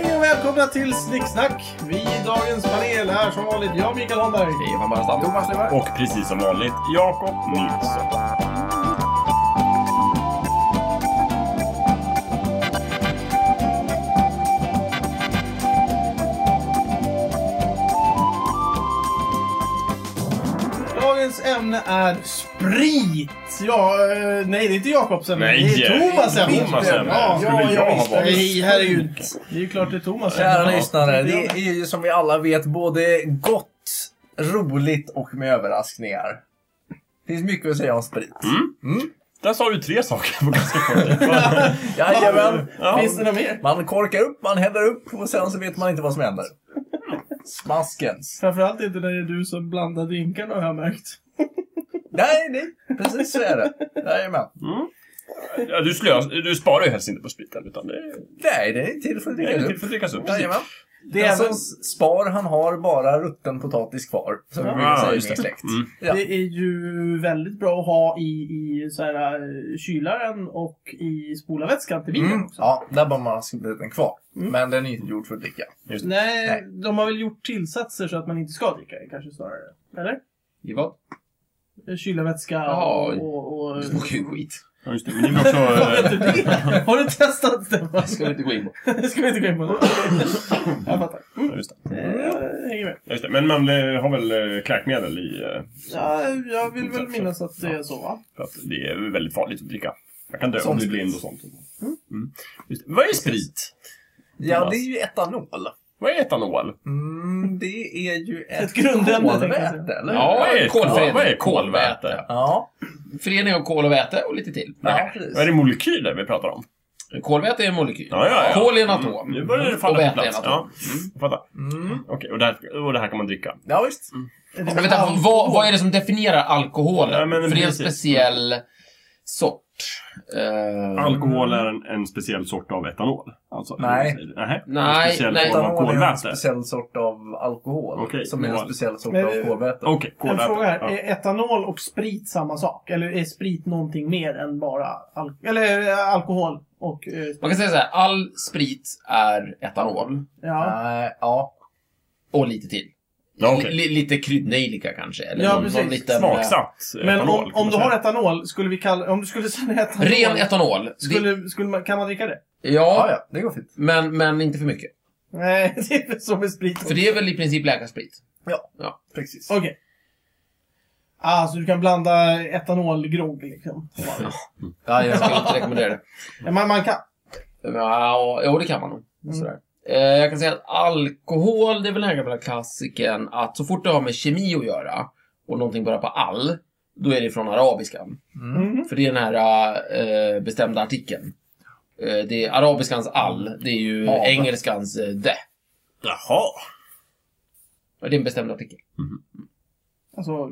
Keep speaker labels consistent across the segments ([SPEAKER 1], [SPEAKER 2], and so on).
[SPEAKER 1] välkomna till Snicksnack! Vi i dagens panel är som vanligt jag, Mikael Holmberg.
[SPEAKER 2] Johan Barastam. Thomas Lundberg.
[SPEAKER 3] Och precis som vanligt, Jakob Nilsson.
[SPEAKER 1] Dagens ämne är sprit! Ja, eh, nej det är inte Jakobs ämne.
[SPEAKER 3] Nej,
[SPEAKER 1] det är Thomas ämne.
[SPEAKER 3] Thomas ämne.
[SPEAKER 1] Ja,
[SPEAKER 3] Skulle jag ha
[SPEAKER 1] visst.
[SPEAKER 3] varit?
[SPEAKER 1] Nej, herregud. Det är ju klart det är Thomas
[SPEAKER 2] Kära
[SPEAKER 1] Ja.
[SPEAKER 2] lyssnare, det
[SPEAKER 1] Det-
[SPEAKER 2] är ju som vi alla vet både gott, roligt och med överraskningar. Det finns mycket att säga om sprit.
[SPEAKER 3] Mm. Där sa du tre saker på ganska kort tid. Va?
[SPEAKER 2] Jajamän!
[SPEAKER 3] Ja.
[SPEAKER 1] Finns det något mer?
[SPEAKER 2] Man korkar upp, man häller upp och sen så vet man inte vad som händer. Smaskens.
[SPEAKER 1] Framförallt inte när det är du som blandar drinkarna har jag märkt.
[SPEAKER 2] Nej, nej, precis så är det. Jajamän.
[SPEAKER 3] Mm. Ja, du, slös, du sparar ju helst inte på spriten, utan det,
[SPEAKER 2] Nej, det är till för att
[SPEAKER 3] det
[SPEAKER 2] dricka
[SPEAKER 3] är
[SPEAKER 2] upp.
[SPEAKER 3] till för att drickas upp.
[SPEAKER 2] Jajamän.
[SPEAKER 1] Det är
[SPEAKER 2] Den som
[SPEAKER 1] även-
[SPEAKER 2] spar, han har bara rutten potatis kvar. Som vi
[SPEAKER 1] Ja,
[SPEAKER 2] brukar säga i
[SPEAKER 3] just
[SPEAKER 2] min
[SPEAKER 3] det.
[SPEAKER 2] släkt.
[SPEAKER 3] Mm.
[SPEAKER 2] Ja.
[SPEAKER 1] Det är ju väldigt bra att ha i, i så här, eh, kylaren och i spolarvätskan till bilen
[SPEAKER 2] Mm.
[SPEAKER 1] också.
[SPEAKER 2] Ja, där bör man ha spriten kvar. Men den är inte gjord för att dricka.
[SPEAKER 1] Nej,
[SPEAKER 2] Nej.
[SPEAKER 1] de har väl gjort tillsatser så att man inte ska dricka det kanske snarare. Eller?
[SPEAKER 4] I vad?
[SPEAKER 1] Kylarvätska och...
[SPEAKER 4] Ja,
[SPEAKER 1] och, och...
[SPEAKER 4] Det smakar ju skit.
[SPEAKER 3] Ja, just det. Men det är också... eh,
[SPEAKER 1] Vet du det? Har du testat det?
[SPEAKER 4] Det ska vi inte gå in på.
[SPEAKER 1] Det ska vi inte gå in på. Jag fattar.
[SPEAKER 3] ja, just det.
[SPEAKER 1] Eh, Jag hänger med.
[SPEAKER 3] Ja, Just det. Men man eh, har väl eh, kräkmedel i... eh,
[SPEAKER 1] Ja, jag vill väl minnas att det är så va?
[SPEAKER 3] För att det är väldigt farligt att dricka. Man kan dö
[SPEAKER 2] Som
[SPEAKER 3] om du
[SPEAKER 2] sprit.
[SPEAKER 3] blir blind och sånt. Mm. Just det. Vad är sprit?
[SPEAKER 2] Ja, det är ju etanol.
[SPEAKER 3] Vad är etanol?
[SPEAKER 2] Mm, det är ju ett,
[SPEAKER 1] Ett grundämne, tänker jag
[SPEAKER 2] kolväte,
[SPEAKER 1] säga.
[SPEAKER 2] eller
[SPEAKER 4] Ja,
[SPEAKER 3] vad är
[SPEAKER 4] kolväte.
[SPEAKER 3] Vad är kolväte?
[SPEAKER 2] Ja,
[SPEAKER 4] Förening av kol och väte och lite till.
[SPEAKER 2] ja,
[SPEAKER 3] Nej.
[SPEAKER 2] precis.
[SPEAKER 3] Vad är det molekyler vi pratar om?
[SPEAKER 4] Kolväte är en molekyl.
[SPEAKER 3] Ja, ja, ja.
[SPEAKER 4] Kol är en
[SPEAKER 3] Mm,
[SPEAKER 4] atom.
[SPEAKER 3] Nu börjar det falla
[SPEAKER 4] och
[SPEAKER 3] på
[SPEAKER 4] väte är en
[SPEAKER 3] plats.
[SPEAKER 4] atom.
[SPEAKER 3] Ja, jag fattar.
[SPEAKER 2] Mm.
[SPEAKER 3] Okej, och, det här- och det här kan man dricka.
[SPEAKER 2] Ja, visst.
[SPEAKER 4] Men vänta, vad, vad är det som definierar alkoholen?
[SPEAKER 3] Ja, men
[SPEAKER 4] För det är en
[SPEAKER 3] precis.
[SPEAKER 4] speciell sort. Eh,
[SPEAKER 3] Alkohol är en, en speciell sort av etanol? Alltså,
[SPEAKER 2] Nej.
[SPEAKER 3] Nej.
[SPEAKER 4] Nej,
[SPEAKER 3] En speciell
[SPEAKER 4] nej.
[SPEAKER 3] form av
[SPEAKER 2] Etanol är en
[SPEAKER 3] kolväte?
[SPEAKER 2] speciell sort av alkohol.
[SPEAKER 3] Okej,
[SPEAKER 2] som är en
[SPEAKER 3] kolväte.
[SPEAKER 2] speciell sort
[SPEAKER 1] Men-
[SPEAKER 2] av kolväte.
[SPEAKER 3] Okej,
[SPEAKER 1] En
[SPEAKER 3] kolväte.
[SPEAKER 1] fråga här.
[SPEAKER 3] Ja.
[SPEAKER 1] Är etanol och sprit samma sak? Eller är sprit någonting mer än bara al- eller, eh, alkohol? Och, eh, sprit?
[SPEAKER 4] Man kan säga så här, all sprit är etanol.
[SPEAKER 1] ja.
[SPEAKER 2] Nej, Eh, ja.
[SPEAKER 4] Och lite till.
[SPEAKER 3] Ja, okej.
[SPEAKER 4] Li- li- lite kryddnejlika kanske. Eller
[SPEAKER 1] Ja,
[SPEAKER 4] någon,
[SPEAKER 1] precis.
[SPEAKER 4] någon liten, eh,
[SPEAKER 3] Smaksatt
[SPEAKER 1] Men
[SPEAKER 3] etanol.
[SPEAKER 1] om,
[SPEAKER 3] kan
[SPEAKER 1] om
[SPEAKER 3] man
[SPEAKER 1] du har
[SPEAKER 3] säga.
[SPEAKER 1] etanol, skulle vi kalla, om du skulle säga
[SPEAKER 4] eh,
[SPEAKER 1] etanol.
[SPEAKER 4] Ren etanol. Det-
[SPEAKER 1] Skulle, skulle man, kan man dricka det?
[SPEAKER 2] Ja,
[SPEAKER 4] ja,
[SPEAKER 2] ja, det går fint.
[SPEAKER 4] men, men inte för mycket.
[SPEAKER 1] Nej, det är väl som med sprit.
[SPEAKER 4] För det är väl i princip läkarsprit.
[SPEAKER 2] Precis.
[SPEAKER 1] Okej. Ah, så du kan blanda etanolgrogg liksom?
[SPEAKER 2] Ja,
[SPEAKER 4] Jag skulle
[SPEAKER 2] ja.
[SPEAKER 4] inte rekommendera det.
[SPEAKER 1] Man, man kan.
[SPEAKER 4] Ja, jo, det kan man nog.
[SPEAKER 1] Mm.
[SPEAKER 4] Sådär. Eh, Jag kan säga att alkohol, det är väl den här gamla klassiken att så fort det har med kemi att göra och någonting börjar på all, då är det från arabiskan.
[SPEAKER 2] Mm.
[SPEAKER 1] Mhm.
[SPEAKER 4] För det är den här eh, bestämda artikeln. Eh, det är arabiskans all, det är ju
[SPEAKER 2] Av.
[SPEAKER 4] engelskans eh, de.
[SPEAKER 3] Jaha.
[SPEAKER 4] Och Det är en bestämd artikel.
[SPEAKER 1] Alltså,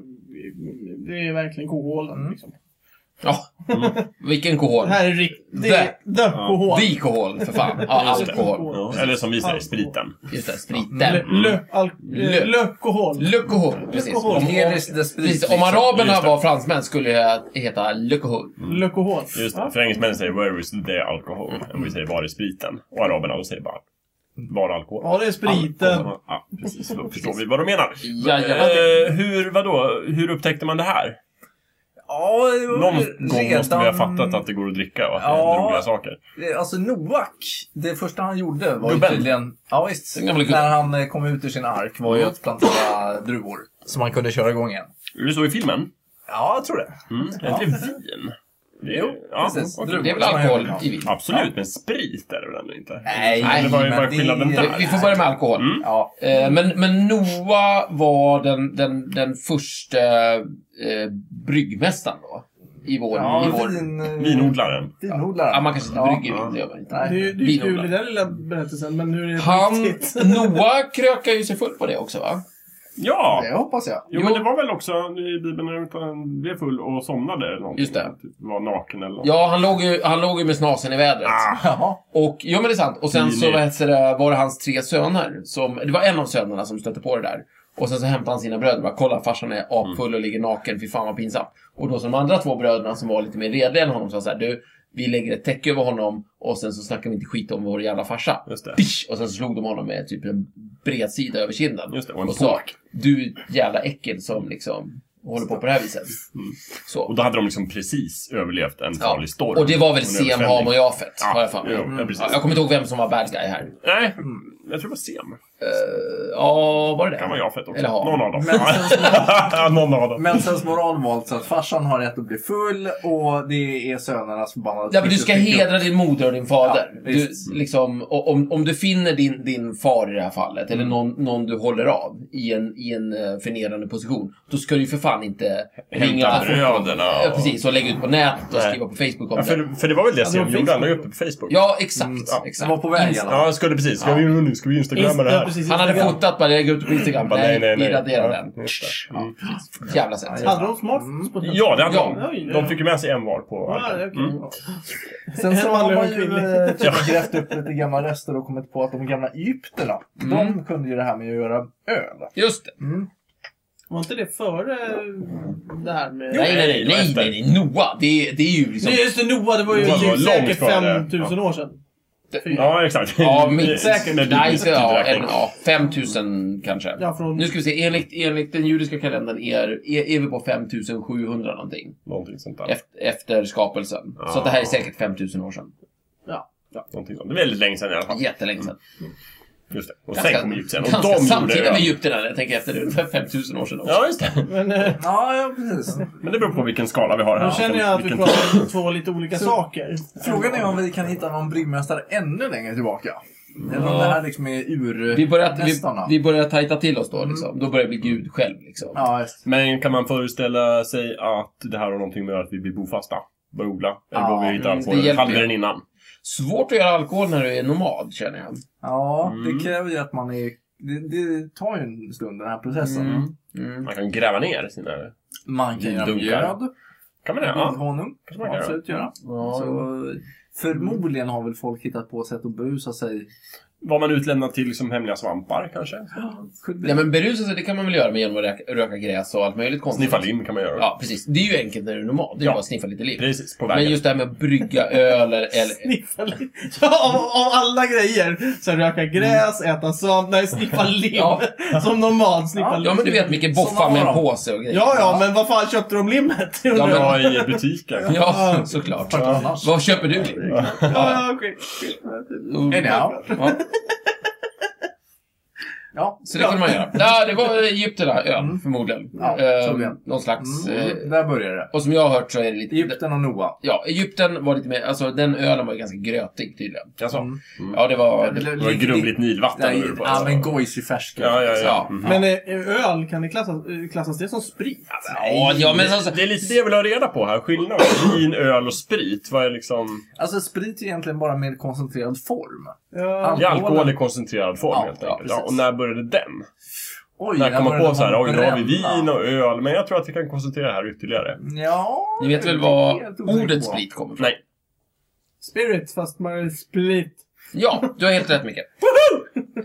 [SPEAKER 1] det är verkligen kohålen
[SPEAKER 2] Mm.
[SPEAKER 1] liksom.
[SPEAKER 4] Ja,
[SPEAKER 3] Mm.
[SPEAKER 4] vilken kohol?
[SPEAKER 1] Det här är riktigt... Det är the kohol.
[SPEAKER 4] Vi kohol, för fan. Ja,
[SPEAKER 3] Just det.
[SPEAKER 4] alkohol.
[SPEAKER 1] Kohol.
[SPEAKER 3] Eller som vi säger,
[SPEAKER 1] Alkohol.
[SPEAKER 3] spriten.
[SPEAKER 4] Just det, spriten.
[SPEAKER 1] Lö- lö- al-
[SPEAKER 4] Mm. Lö.
[SPEAKER 1] eh, Lökohol.
[SPEAKER 4] Lökohol, precis.
[SPEAKER 1] Lökohol.
[SPEAKER 4] Om, om,
[SPEAKER 2] Helis de sprit,
[SPEAKER 4] precis. om
[SPEAKER 2] liksom.
[SPEAKER 4] araberna
[SPEAKER 3] Just det.
[SPEAKER 4] var fransmän skulle det heta lökohol.
[SPEAKER 1] Lökohol.
[SPEAKER 3] Just det.
[SPEAKER 1] Ja. Mm.
[SPEAKER 3] För engelsmännen säger “Where is the alcohol?” och vi säger “Var är spriten?” och araberna de säger bara “Bara alkohol”.
[SPEAKER 1] Ja, det är spriten.
[SPEAKER 3] Alkohol. Ja, precis. Då förstår vi vad de menar.
[SPEAKER 4] Jajamän.
[SPEAKER 3] Eh, hur, vadå? Hur upptäckte man det här?
[SPEAKER 2] Ja, det var
[SPEAKER 3] Någon gång
[SPEAKER 2] redan...
[SPEAKER 3] måste vi ha fattat att det går att dricka och att det
[SPEAKER 2] Ja.
[SPEAKER 3] händer roliga saker.
[SPEAKER 2] Eh, Alltså Noak, det första han gjorde var ju
[SPEAKER 3] Gubben.
[SPEAKER 2] tydligen... Ja, visst.
[SPEAKER 4] Den gamla gubben.
[SPEAKER 2] När han eh, kom ut ur sin ark var ju
[SPEAKER 4] Mm.
[SPEAKER 2] att plantera druvor. Som han kunde köra igång igen.
[SPEAKER 3] Är det så i filmen?
[SPEAKER 2] Ja, jag tror det.
[SPEAKER 3] Mm. Är inte det vin? Det är,
[SPEAKER 2] Jo,
[SPEAKER 3] ja,
[SPEAKER 2] precis.
[SPEAKER 3] okej.
[SPEAKER 4] Det är väl alkohol i vin?
[SPEAKER 3] Absolut, men sprit är det väl ändå inte?
[SPEAKER 2] Nej,
[SPEAKER 3] det var ju
[SPEAKER 2] men
[SPEAKER 3] bara
[SPEAKER 2] det-
[SPEAKER 3] skillnaden där.
[SPEAKER 4] Vi- Vi får börja med alkohol.
[SPEAKER 3] Mm.
[SPEAKER 2] Ja,
[SPEAKER 4] Eh, Men, men Noah var den, den, den första eh, bryggmästaren då. I vår...
[SPEAKER 2] ja
[SPEAKER 4] i vår
[SPEAKER 2] vin, eh,
[SPEAKER 3] Vinodlaren.
[SPEAKER 2] vinodlare.
[SPEAKER 4] ja, man kanske inte
[SPEAKER 2] Ja.
[SPEAKER 4] brygger vin, det gör man inte.
[SPEAKER 1] Det är
[SPEAKER 2] Nej.
[SPEAKER 1] ju det är ju kul
[SPEAKER 4] Vinodlare.
[SPEAKER 1] i den lilla berättelsen, men hur är det på
[SPEAKER 4] Han,
[SPEAKER 1] riktigt?
[SPEAKER 4] Noah krökar ju sig full på det också va?
[SPEAKER 3] Ja!
[SPEAKER 2] Det hoppas jag.
[SPEAKER 3] Jo,
[SPEAKER 4] Jo.
[SPEAKER 3] men det var väl också i Bibeln när han blev full och somnade eller någonting.
[SPEAKER 4] Just det.
[SPEAKER 3] Typ var naken eller något.
[SPEAKER 4] Ja, han låg ju, han låg ju med snasen i vädret.
[SPEAKER 3] Ah,
[SPEAKER 2] Ja.
[SPEAKER 4] Och, ja men det är sant. Och sen så
[SPEAKER 3] Geniet.
[SPEAKER 4] vad heter det, var det hans tre söner som, det var en av sönerna som stötte på det där. Och sen så hämtade han sina bröder och bara, kolla farsan är apfull och ligger naken, fy fan vad pinsamt. Och då så de andra två bröderna som var lite mer redliga än honom sa såhär, du, vi lägger ett täcke över honom och sen så snackar vi inte skit om vår jävla farsa.
[SPEAKER 3] Ah, Just det.
[SPEAKER 4] Bish! Och sen så slog de honom med typ en bredsida över kinden.
[SPEAKER 3] Just det, och en
[SPEAKER 4] Och sa,
[SPEAKER 3] påk.
[SPEAKER 4] du jävla äckel som liksom håller på på det här viset.
[SPEAKER 3] Mm. Och
[SPEAKER 4] Så.
[SPEAKER 3] då hade de liksom precis överlevt en farlig storm.
[SPEAKER 4] Och det var väl
[SPEAKER 3] en
[SPEAKER 4] Sem,
[SPEAKER 3] översvämning.
[SPEAKER 4] Ham och Jafet,
[SPEAKER 3] Ja,
[SPEAKER 4] har jag för mig.
[SPEAKER 3] jo, ja, precis.
[SPEAKER 4] Ja, Jag kommer inte ihåg vem som var bad guy här.
[SPEAKER 3] Nej, jag tror det var Sem.
[SPEAKER 4] Eh, Ja, var det det?
[SPEAKER 3] kan vara Jafet också.
[SPEAKER 4] Eller Ham.
[SPEAKER 3] Någon av dem.
[SPEAKER 2] Men
[SPEAKER 3] Någon av dem.
[SPEAKER 2] Men sens moralmål så att farsan har rätt att bli full och det är sönernas förbannade...
[SPEAKER 4] Ja, men du ska hedra din moder och din fader.
[SPEAKER 2] Ja,
[SPEAKER 4] du,
[SPEAKER 2] visst.
[SPEAKER 4] liksom, och om, om du finner din, din far i det här fallet,
[SPEAKER 3] Mm.
[SPEAKER 4] eller någon, någon du håller av i en, i en eh, förnedrande position, då ska du ju för fan inte
[SPEAKER 3] Hämta
[SPEAKER 4] ringa...
[SPEAKER 3] bröderna.
[SPEAKER 4] Ja,
[SPEAKER 3] och-
[SPEAKER 4] precis, och lägga ut på nätet och
[SPEAKER 3] Nej.
[SPEAKER 4] skriva på Facebook
[SPEAKER 3] Ja,
[SPEAKER 4] om det.
[SPEAKER 3] för, för det var väl det
[SPEAKER 1] det
[SPEAKER 3] Sem
[SPEAKER 1] var
[SPEAKER 3] gjorde. Han la ju upp
[SPEAKER 1] Facebook.
[SPEAKER 3] det på Facebook.
[SPEAKER 4] Ja, exakt.
[SPEAKER 3] ja,
[SPEAKER 4] exakt.
[SPEAKER 2] Han var på väg i alla fall.
[SPEAKER 3] Ja, jag skulle precis. Ska
[SPEAKER 4] Ja.
[SPEAKER 3] vi nu ska vi instagramma det
[SPEAKER 1] Ja,
[SPEAKER 3] här?
[SPEAKER 1] precis.
[SPEAKER 4] Han hade
[SPEAKER 1] Instagram.
[SPEAKER 4] fotat bara, lägger ut på Instagram.
[SPEAKER 3] Bara,
[SPEAKER 4] Nej,
[SPEAKER 3] nej, nej,
[SPEAKER 4] vi
[SPEAKER 3] nej.
[SPEAKER 4] raderar
[SPEAKER 3] Ja,
[SPEAKER 4] den.
[SPEAKER 3] just det. Mm.
[SPEAKER 4] Ja, precis. Jävla sätt.
[SPEAKER 1] Hade de smartphones på
[SPEAKER 3] Ja, det hade
[SPEAKER 1] Ja,
[SPEAKER 3] de.
[SPEAKER 1] ja.
[SPEAKER 3] De fick ju med sig en var på
[SPEAKER 1] Ja, det är
[SPEAKER 3] arken.
[SPEAKER 1] okej.
[SPEAKER 3] Mm.
[SPEAKER 2] Sen så
[SPEAKER 1] En
[SPEAKER 2] har
[SPEAKER 1] manlig och
[SPEAKER 2] man
[SPEAKER 1] en
[SPEAKER 2] ju
[SPEAKER 1] kvinnlig.
[SPEAKER 2] eh, typ grävt upp lite gamla rester och kommit på att de gamla egyptierna,
[SPEAKER 4] Mm.
[SPEAKER 2] de kunde ju det här med att göra öl.
[SPEAKER 4] Just det.
[SPEAKER 1] Var inte det före eh, det här med...
[SPEAKER 4] Nej, nej, nej,
[SPEAKER 3] det var
[SPEAKER 4] nej,
[SPEAKER 3] efter.
[SPEAKER 4] nej, nej. Noah. Det, det är ju liksom...
[SPEAKER 1] Nej, just det, Noah, det var ju
[SPEAKER 3] Noah var
[SPEAKER 1] typ
[SPEAKER 3] långt
[SPEAKER 1] säkert
[SPEAKER 3] före.
[SPEAKER 1] 5000 år sedan.
[SPEAKER 3] Ja, exakt. Mm.
[SPEAKER 4] Ja, mitt
[SPEAKER 1] Säkert.
[SPEAKER 3] När du-
[SPEAKER 4] Nej, så, ja, en,
[SPEAKER 3] tideräkning.
[SPEAKER 4] ja, 5000 kanske.
[SPEAKER 1] Ja, från-
[SPEAKER 4] Nu ska vi se, enligt, enligt den judiska kalendern är, är, är vi på 5700 någonting.
[SPEAKER 3] Någonting sånt där.
[SPEAKER 4] Efter, efter skapelsen. Så att det här är säkert 5000 år sedan.
[SPEAKER 1] Ja.
[SPEAKER 3] Någonting sånt. Det är väldigt länge sedan i alla fall.
[SPEAKER 4] Jättelänge sedan.
[SPEAKER 3] Just det. Och sen
[SPEAKER 4] Ganska-
[SPEAKER 3] kom egyptierna. Och
[SPEAKER 4] ganska
[SPEAKER 3] de gjorde
[SPEAKER 4] samtida med
[SPEAKER 3] det.
[SPEAKER 4] egyptierna. Jag tänker efter det, ungefär 5000 år sedan också.
[SPEAKER 3] Ja, just det.
[SPEAKER 1] Men eh,
[SPEAKER 2] Ja, ja precis.
[SPEAKER 3] Men det beror på vilken skala vi har här.
[SPEAKER 1] nu känner jag att vi
[SPEAKER 3] Vilken-
[SPEAKER 1] pratar om två lite olika saker.
[SPEAKER 2] Frågan är om vi kan hitta någon bryggmästare ännu längre tillbaka. Eller om det här liksom är ur
[SPEAKER 4] Vi börjar, vi,
[SPEAKER 2] nästan, ja.
[SPEAKER 4] vi börjar tajta till oss då liksom. Då börjar det bli Gud själv liksom.
[SPEAKER 2] Ja, just.
[SPEAKER 3] Men kan man föreställa sig att det här har någonting med att vi blir bofasta? Börjar odla? Eller
[SPEAKER 2] Ja,
[SPEAKER 3] borde vi hitta
[SPEAKER 4] mm, det
[SPEAKER 3] alkoholen
[SPEAKER 4] hjälper
[SPEAKER 3] halvdelen innan?
[SPEAKER 4] Svårt att göra alkohol när du är nomad känner jag.
[SPEAKER 2] ja
[SPEAKER 3] Mm.
[SPEAKER 2] det kräver ju att man är... Det, det tar ju en stund den här processen.
[SPEAKER 4] Mm. Mm.
[SPEAKER 3] Man kan gräva ner sina...
[SPEAKER 2] Man kan göra
[SPEAKER 3] Dunkar.
[SPEAKER 2] mjöd,
[SPEAKER 3] Kan man det? Ja.
[SPEAKER 2] honung,
[SPEAKER 3] Kanske man kan göra.
[SPEAKER 2] absolut göra.
[SPEAKER 4] Ja,
[SPEAKER 2] Så, förmodligen har väl folk hittat på sätt att berusa sig.
[SPEAKER 3] Var man utlämnad till liksom hemliga svampar kanske?
[SPEAKER 2] Could be.
[SPEAKER 4] Nej men berusa sig det kan man väl göra med genom att röka, röka gräs och allt möjligt konstigt.
[SPEAKER 3] Sniffa lim kan man göra.
[SPEAKER 4] Ja, precis. Det är ju enkelt när du är nomad. Det är
[SPEAKER 3] Ja.
[SPEAKER 4] bara att sniffa lite liv.
[SPEAKER 3] Precis, på vägen.
[SPEAKER 4] Men just det här med att brygga öl eller... eller
[SPEAKER 1] Sniffa liv. Av, av alla grejer så röka gräs, äta sånt, nej sniffa lim.
[SPEAKER 4] Ja.
[SPEAKER 1] Som normalt sniffa lim.
[SPEAKER 4] ja, men du vet
[SPEAKER 2] Såna
[SPEAKER 4] Micke Boffa
[SPEAKER 2] har
[SPEAKER 4] med en
[SPEAKER 2] de.
[SPEAKER 4] påse och grejer.
[SPEAKER 1] Ja, ja, men vad fan köpte de limmet? Ja,
[SPEAKER 4] men-
[SPEAKER 1] ja,
[SPEAKER 3] Ja, i butiken.
[SPEAKER 4] Ja, såklart.
[SPEAKER 2] Vart annars?
[SPEAKER 4] Vad köper du? Liv?
[SPEAKER 1] ja, okej.
[SPEAKER 2] Anyhow.
[SPEAKER 4] Ja,
[SPEAKER 2] Ja,
[SPEAKER 4] så det kunde man göra. Ja, det var Egypterna, ja, förmodligen.
[SPEAKER 2] Ja,
[SPEAKER 4] Ehm,
[SPEAKER 2] troligen.
[SPEAKER 4] någon slags... eh,
[SPEAKER 2] mm, där börjar det.
[SPEAKER 4] och som jag har hört så är det lite...
[SPEAKER 2] Egypten och Noa.
[SPEAKER 4] Ja, Egypten var lite mer... Alltså den ölen var ju ganska grötig tydligen.
[SPEAKER 3] Alltså,
[SPEAKER 2] Mm.
[SPEAKER 4] Ja, det var... Det,
[SPEAKER 3] det var grumligt Nilvatten.
[SPEAKER 2] Nej,
[SPEAKER 3] över på,
[SPEAKER 2] ja,
[SPEAKER 3] alltså.
[SPEAKER 2] men gojs i färsken.
[SPEAKER 3] Ja, ja, ja.
[SPEAKER 4] Ja.
[SPEAKER 3] Mhm.
[SPEAKER 1] Men eh, öl, kan det klassas, eh, klassas det som sprit?
[SPEAKER 4] ja, ja, men alltså,
[SPEAKER 3] Det är lite det jag vill ha reda på här. Skillnaden mellan vin, öl och sprit. Vad är liksom...
[SPEAKER 2] Alltså sprit är egentligen bara mer koncentrerad form.
[SPEAKER 1] Ja.
[SPEAKER 3] Det är alkohol i koncentrerad form
[SPEAKER 2] Ja,
[SPEAKER 3] helt
[SPEAKER 2] ja,
[SPEAKER 3] enkelt. Ja, och
[SPEAKER 2] precis.
[SPEAKER 3] när började den?
[SPEAKER 2] Oj,
[SPEAKER 3] När kom man
[SPEAKER 2] började
[SPEAKER 3] på så här,
[SPEAKER 2] man
[SPEAKER 3] oj, nu har vi
[SPEAKER 2] bränna."
[SPEAKER 3] vin och öl. Men jag tror att vi kan koncentrera det här ytterligare.
[SPEAKER 2] Ja,
[SPEAKER 4] ni vet väl
[SPEAKER 2] det är
[SPEAKER 4] var
[SPEAKER 2] helt osäker
[SPEAKER 4] ordet
[SPEAKER 2] på.
[SPEAKER 4] sprit kommer ifrån?
[SPEAKER 3] Nej.
[SPEAKER 1] Spirit, fast man är split.
[SPEAKER 4] Ja, du har helt rätt Micke.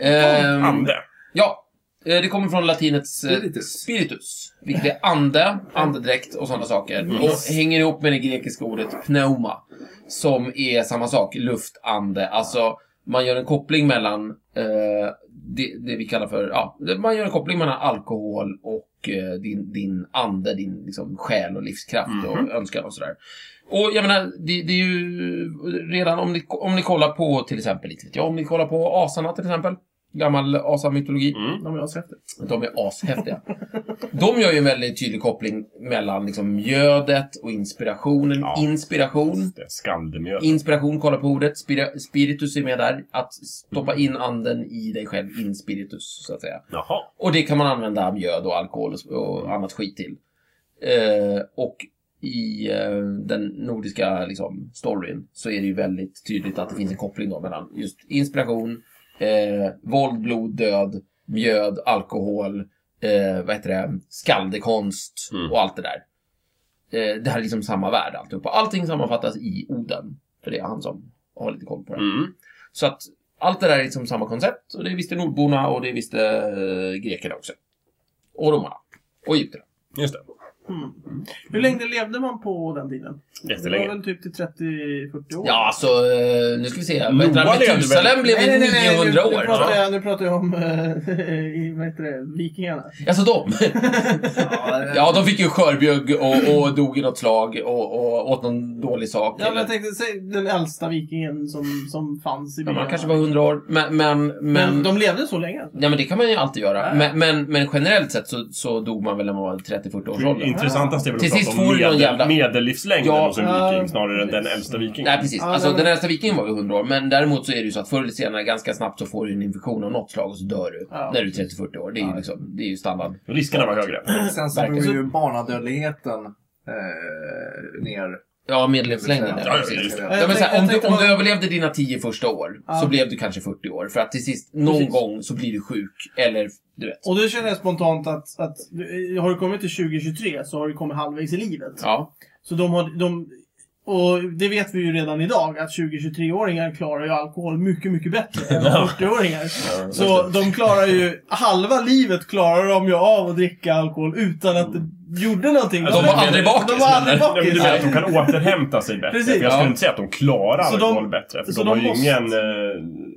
[SPEAKER 4] Ehm,
[SPEAKER 3] Mm. Ande.
[SPEAKER 4] Ja, eh, det kommer från latinets eh,
[SPEAKER 2] Spiritus.
[SPEAKER 4] spiritus, vilket är ande, andedräkt och sådana saker. Och hänger ihop med det grekiska ordet pneuma, som är samma sak, luft, ande. Alltså, man gör en koppling mellan eh, det, det vi kallar för, ja, man gör en koppling mellan alkohol och eh, din, din ande, din liksom, själ och livskraft och önskan och sådär. Och jag menar, det, det är ju redan om ni, om ni kollar på till exempel, inte vet jag, om ni kollar på asarna till exempel, gammal asamytologi.
[SPEAKER 3] Mm.
[SPEAKER 1] De jag sett det.
[SPEAKER 4] De är ashäftiga. De gör ju en väldigt tydlig koppling mellan liksom mjödet och inspirationen.
[SPEAKER 3] Ja.
[SPEAKER 4] Inspiration.
[SPEAKER 3] Det är skaldemjöl.
[SPEAKER 4] Inspiration, kolla på ordet. Spira- spiritus är med där. Att stoppa in anden i dig själv, in spiritus, så att säga.
[SPEAKER 3] Jaha.
[SPEAKER 4] Och det kan man använda mjöd och alkohol och, och annat skit till. Eh, och i eh, den nordiska liksom, storyn så är det ju väldigt tydligt att det finns en koppling då mellan just inspiration, eh, våld, blod, död, mjöd, alkohol, eh, vad heter det, skaldekonst
[SPEAKER 3] Mm.
[SPEAKER 4] och allt det där. Eh, det här är liksom samma värld alltihopa. Allting sammanfattas i Oden. För det är han som har lite koll på det.
[SPEAKER 3] Mm.
[SPEAKER 4] Så att allt det där är liksom samma koncept. Och det visste nordborna och det visste eh, grekerna också. Och romarna. Och egyptierna.
[SPEAKER 3] Just det.
[SPEAKER 1] Mm. Hur länge levde man på den tiden? Det
[SPEAKER 3] Jättelänge.
[SPEAKER 1] var väl typ till 30-40 år?
[SPEAKER 4] Ja, alltså, eh, nu ska vi se. Vad heter
[SPEAKER 3] Noa
[SPEAKER 4] han?
[SPEAKER 3] levde väl-
[SPEAKER 4] Metusalem blev ju 900
[SPEAKER 1] nu,
[SPEAKER 4] år.
[SPEAKER 1] Nu pratar jag, nu pratar jag om eh, i- vad heter det, vikingarna.
[SPEAKER 4] Alltså de. ja, de fick ju skörbjugg och, och dog i något slag och, och åt någon dålig sak.
[SPEAKER 1] Ja, men
[SPEAKER 4] eller-
[SPEAKER 1] jag tänkte, säg den äldsta vikingen som, som fanns i
[SPEAKER 4] Ja,
[SPEAKER 1] byarna.
[SPEAKER 4] man kanske var 100 år. Men, men,
[SPEAKER 1] Men
[SPEAKER 4] men,
[SPEAKER 1] de levde så länge?
[SPEAKER 4] ja, men det kan man ju alltid göra.
[SPEAKER 1] Nej.
[SPEAKER 4] Men, men, men generellt sett så, så dog man väl när man var 30-40 års ålder.
[SPEAKER 3] Intressantast Mm. är väl
[SPEAKER 4] Till
[SPEAKER 3] att
[SPEAKER 4] sist
[SPEAKER 3] prata om
[SPEAKER 4] får du någon
[SPEAKER 3] medel,
[SPEAKER 4] jävla-
[SPEAKER 3] medellivslängden
[SPEAKER 4] Ja.
[SPEAKER 3] hos en viking snarare än den äldsta vikingen.
[SPEAKER 4] Nej, precis.
[SPEAKER 1] Ja,
[SPEAKER 4] alltså,
[SPEAKER 1] men-
[SPEAKER 4] Den äldsta vikingen var väl 100 år, men däremot så är det ju så att förr eller senare, ganska snabbt, så får du en infektion av något slag och så dör du.
[SPEAKER 1] Ja.
[SPEAKER 4] När du är 30-40 år. Det är ju, liksom, det är ju standard.
[SPEAKER 3] Riskerna var högre.
[SPEAKER 2] Sen så
[SPEAKER 4] Verkligen.
[SPEAKER 2] drog ju barnadödligheten eh, ner.
[SPEAKER 4] Ja, Eh, medellivslängden.
[SPEAKER 3] Ja, ja,
[SPEAKER 4] precis.
[SPEAKER 3] just det.
[SPEAKER 1] Jag
[SPEAKER 4] Ja, men så
[SPEAKER 1] tänkte-
[SPEAKER 4] här, om,
[SPEAKER 1] jag
[SPEAKER 4] du,
[SPEAKER 1] tänkte
[SPEAKER 4] om du
[SPEAKER 1] bara-
[SPEAKER 4] överlevde dina tio första år
[SPEAKER 1] Ja.
[SPEAKER 4] så blev du kanske 40 år. För att till sist, någon
[SPEAKER 1] Precis.
[SPEAKER 4] gång så blir du sjuk. Eller, du vet.
[SPEAKER 1] Och då känner jag spontant att, att du- har du kommit till 2023 så har du kommit halvvägs i livet.
[SPEAKER 4] Ja.
[SPEAKER 1] Så de har, de, och det vet vi ju redan idag att 20-23-åringar klarar ju alkohol mycket, mycket bättre än
[SPEAKER 3] Ja.
[SPEAKER 1] 40-åringar.
[SPEAKER 3] Ja,
[SPEAKER 1] Så de klarar ju, halva livet klarar de ju av att dricka alkohol utan att det gjorde någonting.
[SPEAKER 3] Alltså,
[SPEAKER 4] De var aldrig bakis.
[SPEAKER 1] De var aldrig
[SPEAKER 3] Nej, men du
[SPEAKER 1] bakis.
[SPEAKER 3] menar att de kan återhämta sig bättre?
[SPEAKER 1] Precis.
[SPEAKER 3] För jag skulle
[SPEAKER 4] Ja.
[SPEAKER 3] inte säga att de klarar
[SPEAKER 1] Så de-
[SPEAKER 3] alkohol bättre. För
[SPEAKER 1] så
[SPEAKER 3] de
[SPEAKER 1] de
[SPEAKER 3] har ju
[SPEAKER 1] måste-
[SPEAKER 3] ingen... eh,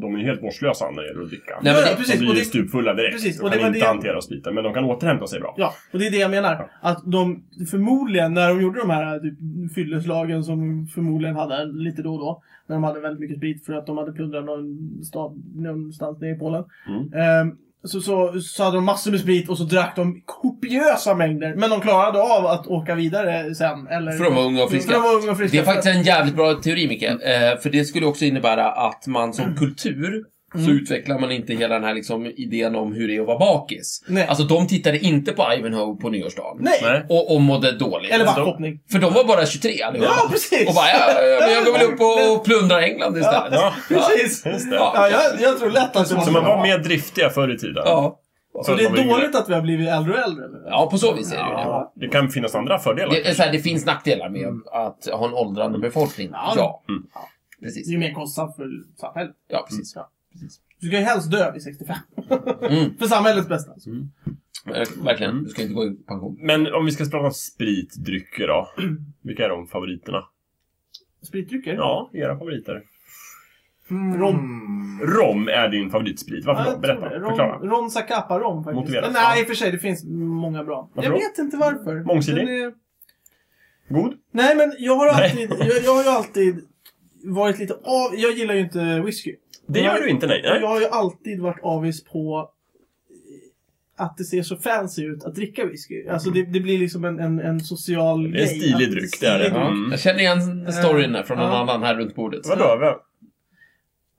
[SPEAKER 3] De är ju helt vårdslösa när det gäller att dricka.
[SPEAKER 4] Nej, men det-
[SPEAKER 1] Ja,
[SPEAKER 3] de
[SPEAKER 1] precis.
[SPEAKER 3] blir
[SPEAKER 1] Och
[SPEAKER 3] ju
[SPEAKER 1] det,
[SPEAKER 3] stupfulla direkt.
[SPEAKER 1] precis,
[SPEAKER 3] De
[SPEAKER 1] och
[SPEAKER 3] kan
[SPEAKER 1] det var
[SPEAKER 3] inte
[SPEAKER 1] det-
[SPEAKER 3] hantera spriten, men de kan återhämta sig bra.
[SPEAKER 1] ja, och det är det jag menar. Att de förmodligen, när de gjorde de här typ, fylleslagen som förmodligen hade lite då och då. När de hade väldigt mycket sprit för att de hade plundrat någon stad någonstans nere i Polen.
[SPEAKER 3] Mm.
[SPEAKER 1] Ehm, så, så, så hade de massor med sprit och så drack de kopiösa mängder. Men de klarade av att åka vidare sen. Eller,
[SPEAKER 4] För de var unga och friska.
[SPEAKER 1] För de var unga och friska.
[SPEAKER 4] Det är faktiskt en jävligt bra teori, Micke.
[SPEAKER 1] Mm.
[SPEAKER 4] Eh, för det skulle också innebära att man som kultur så
[SPEAKER 1] Mm.
[SPEAKER 4] utvecklar man inte hela den här liksom, idén om hur det är att vara bakis.
[SPEAKER 1] Nej.
[SPEAKER 4] Alltså, de tittade inte på Ivanhoe på nyårsdagen.
[SPEAKER 1] Nej!
[SPEAKER 3] Nej.
[SPEAKER 4] Och, och mådde dåligt.
[SPEAKER 1] Eller
[SPEAKER 3] Alltså, de-
[SPEAKER 1] backhoppning.
[SPEAKER 4] För de var bara 23 allihopa.
[SPEAKER 1] Ja, precis!
[SPEAKER 4] Och bara, ja, ja, men jag går väl upp och- och plundrar England istället.
[SPEAKER 3] Ja,
[SPEAKER 1] Precis!
[SPEAKER 3] just det.
[SPEAKER 4] Ja.
[SPEAKER 1] Ja, jag, jag tror lätt att det
[SPEAKER 3] Så man var mer driftiga förr i tiden.
[SPEAKER 4] Ja.
[SPEAKER 1] Så
[SPEAKER 3] Förr
[SPEAKER 1] det
[SPEAKER 3] var man
[SPEAKER 1] är
[SPEAKER 3] yngre.
[SPEAKER 1] dåligt att vi har blivit äldre och äldre? eller?
[SPEAKER 4] ja, på så vis är det ju det.
[SPEAKER 3] Ja, det kan finnas andra fördelar.
[SPEAKER 4] Det, är så här, det finns nackdelar med att ha en åldrande befolkning.
[SPEAKER 1] Mm. Ja.
[SPEAKER 4] Ja.
[SPEAKER 3] Mm.
[SPEAKER 1] Det är
[SPEAKER 4] Precis.
[SPEAKER 1] ju mer kostsamt för samhället.
[SPEAKER 4] Ja, precis. Precis.
[SPEAKER 1] Du ska ju helst dö vid 65.
[SPEAKER 4] Mm.
[SPEAKER 1] För samhällets bästa. Alltså.
[SPEAKER 4] Ver-
[SPEAKER 1] Mm.
[SPEAKER 4] Verkligen. Du ska inte gå i pension.
[SPEAKER 3] Men om vi ska prata om spritdrycker då. Vilka är de favoriterna?
[SPEAKER 1] Spritdrycker?
[SPEAKER 3] Ja, era favoriter.
[SPEAKER 2] Mm.
[SPEAKER 1] Rom.
[SPEAKER 3] Rom är din favoritsprit. Varför då?
[SPEAKER 1] jag tror
[SPEAKER 3] Berätta.
[SPEAKER 1] det.
[SPEAKER 3] Förklara.
[SPEAKER 1] Rom, Ron Zacapa rom faktiskt.
[SPEAKER 3] Motivera.
[SPEAKER 1] Nej,
[SPEAKER 3] Ja.
[SPEAKER 1] i och för sig. Det finns många bra.
[SPEAKER 3] Varför
[SPEAKER 1] jag
[SPEAKER 3] då?
[SPEAKER 1] vet inte varför.
[SPEAKER 3] Mångsidig?
[SPEAKER 1] Den är-
[SPEAKER 3] God?
[SPEAKER 1] Nej, men jag har,
[SPEAKER 3] Nej.
[SPEAKER 1] alltid, jag, jag har ju alltid varit lite av... Jag gillar ju inte whisky.
[SPEAKER 3] Det
[SPEAKER 1] Nej.
[SPEAKER 3] gör du inte, nej.
[SPEAKER 1] Jag
[SPEAKER 3] nej.
[SPEAKER 1] har ju alltid varit avis på eh, att det ser så fancy ut att dricka whisky. Alltså det, det blir liksom en, en, en social
[SPEAKER 3] Det är
[SPEAKER 1] grej.
[SPEAKER 3] en stilig
[SPEAKER 1] Att-
[SPEAKER 3] dryck, det är det.
[SPEAKER 1] stilig
[SPEAKER 4] Ja.
[SPEAKER 1] dryck.
[SPEAKER 3] Mm.
[SPEAKER 4] Jag känner igen storyn där från någon
[SPEAKER 1] Eh, Ja.
[SPEAKER 4] annan här runt bordet.
[SPEAKER 3] Vadå? Vem?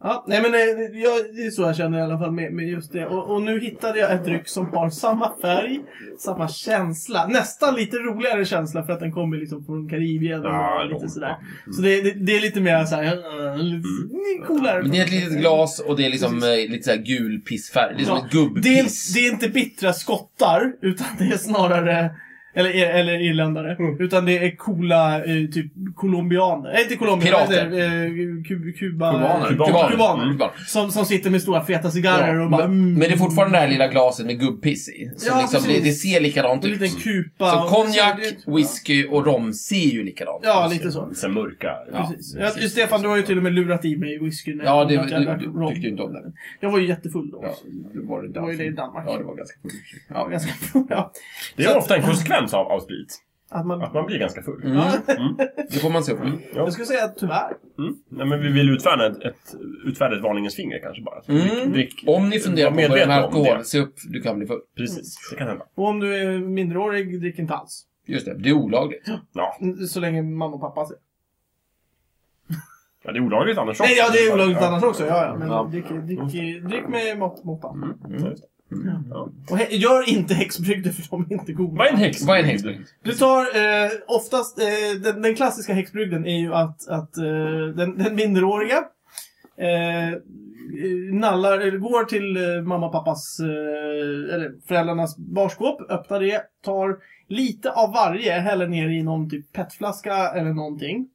[SPEAKER 1] Ja, nej men eh, jag, det är så jag känner i alla fall med, med just det. Och, och nu hittade jag ett dryck som har samma färg, samma känsla. Nästan lite roligare känsla för att den kommer liksom från Karibien och
[SPEAKER 3] Ja,
[SPEAKER 1] lite
[SPEAKER 3] de-
[SPEAKER 1] sådär. Så det, det, det är lite mer såhär, eh, lite coolare.
[SPEAKER 4] Men det är ett litet glas och det är liksom eh, lite så här gul pissfärg. Det är som
[SPEAKER 1] Ja.
[SPEAKER 4] ett
[SPEAKER 1] Det är,
[SPEAKER 4] gubbpiss.
[SPEAKER 1] det är inte bittra skottar, utan det är snarare... Eller, e, eller irländare. Utan det är coola, eh, typ colombianer. Nej, inte colombianer.
[SPEAKER 4] Pirater.
[SPEAKER 1] vad heter det? Eh, Ku- Kuba,
[SPEAKER 4] Kubaner.
[SPEAKER 1] Kubaner.
[SPEAKER 3] Kubaner.
[SPEAKER 1] Kubaner.
[SPEAKER 4] Mm. Kubaner.
[SPEAKER 1] Som, som sitter med stora feta cigarrer
[SPEAKER 4] Ja,
[SPEAKER 1] och bara...
[SPEAKER 4] men,
[SPEAKER 1] mm.
[SPEAKER 4] men det är fortfarande det här lilla glaset med gubbpiss i. Som
[SPEAKER 1] Ja,
[SPEAKER 4] liksom, det,
[SPEAKER 1] precis.
[SPEAKER 4] det ser likadant
[SPEAKER 1] En liten
[SPEAKER 4] ut.
[SPEAKER 1] kupa.
[SPEAKER 4] Så
[SPEAKER 1] och-
[SPEAKER 4] konjak,
[SPEAKER 1] så det-
[SPEAKER 4] whisky och rom ser ju likadant ut.
[SPEAKER 1] Ja, lite så.
[SPEAKER 3] Sen mörka.
[SPEAKER 4] Ja,
[SPEAKER 1] Precis. Ja, du, Stefan, du har ju till och med lurat i mig whisky. när
[SPEAKER 4] Ja,
[SPEAKER 1] jag-
[SPEAKER 4] det-
[SPEAKER 1] att jag
[SPEAKER 4] du-
[SPEAKER 1] drack
[SPEAKER 4] du
[SPEAKER 1] rom.
[SPEAKER 4] tyckte ju inte om det.
[SPEAKER 1] Jag var ju jättefull då.
[SPEAKER 4] Ja, det var det,
[SPEAKER 1] Det var ju det i Danmark.
[SPEAKER 4] Ja, det var ganska fullt. Ja,
[SPEAKER 1] Ganska full, ja.
[SPEAKER 3] Det är ofta en konsekvens av, av sprit.
[SPEAKER 1] Att man...
[SPEAKER 3] Att man blir ganska full.
[SPEAKER 4] Mm. Det får man se på.
[SPEAKER 1] Jag skulle säga att tyvärr.
[SPEAKER 3] Mm. Nej, men vi vill utfärda ett, ett, utfärda ett varningens finger kanske bara. Så
[SPEAKER 4] Mm.
[SPEAKER 3] Drick, drick.
[SPEAKER 4] Om ni funderar på att börja med
[SPEAKER 3] medveten om
[SPEAKER 4] alkohol,
[SPEAKER 3] det.
[SPEAKER 4] se upp, du kan bli full.
[SPEAKER 3] Precis, det kan hända.
[SPEAKER 1] Och om du är minderårig, drick inte alls.
[SPEAKER 4] Just det, det är olagligt.
[SPEAKER 3] Ja,
[SPEAKER 1] Mm, Så länge mamma och pappa ser.
[SPEAKER 3] Ja, det är olagligt annars
[SPEAKER 1] Nej,
[SPEAKER 3] också.
[SPEAKER 1] ja, det är olagligt
[SPEAKER 3] Ja.
[SPEAKER 1] annars också. Ja, ja. Men
[SPEAKER 4] Ja.
[SPEAKER 1] Drick, drick, drick med mått- måtta.
[SPEAKER 3] Mm. just det. Ja.
[SPEAKER 4] Mm.
[SPEAKER 1] Och he- gör inte häxbrygder för de är inte goda.
[SPEAKER 3] Vad är en häxbrygd?
[SPEAKER 4] Vad är en häxbrygd?
[SPEAKER 1] Du tar eh, oftast, eh, den, den klassiska häxbrygden är ju att, att eh, den, den minderåriga eh, eh, nallar, eller går till eh, mamma och pappas, eh, eller föräldrarnas barskåp, öppnar det, tar lite av varje, häller ner i någon typ petflaska eller någonting.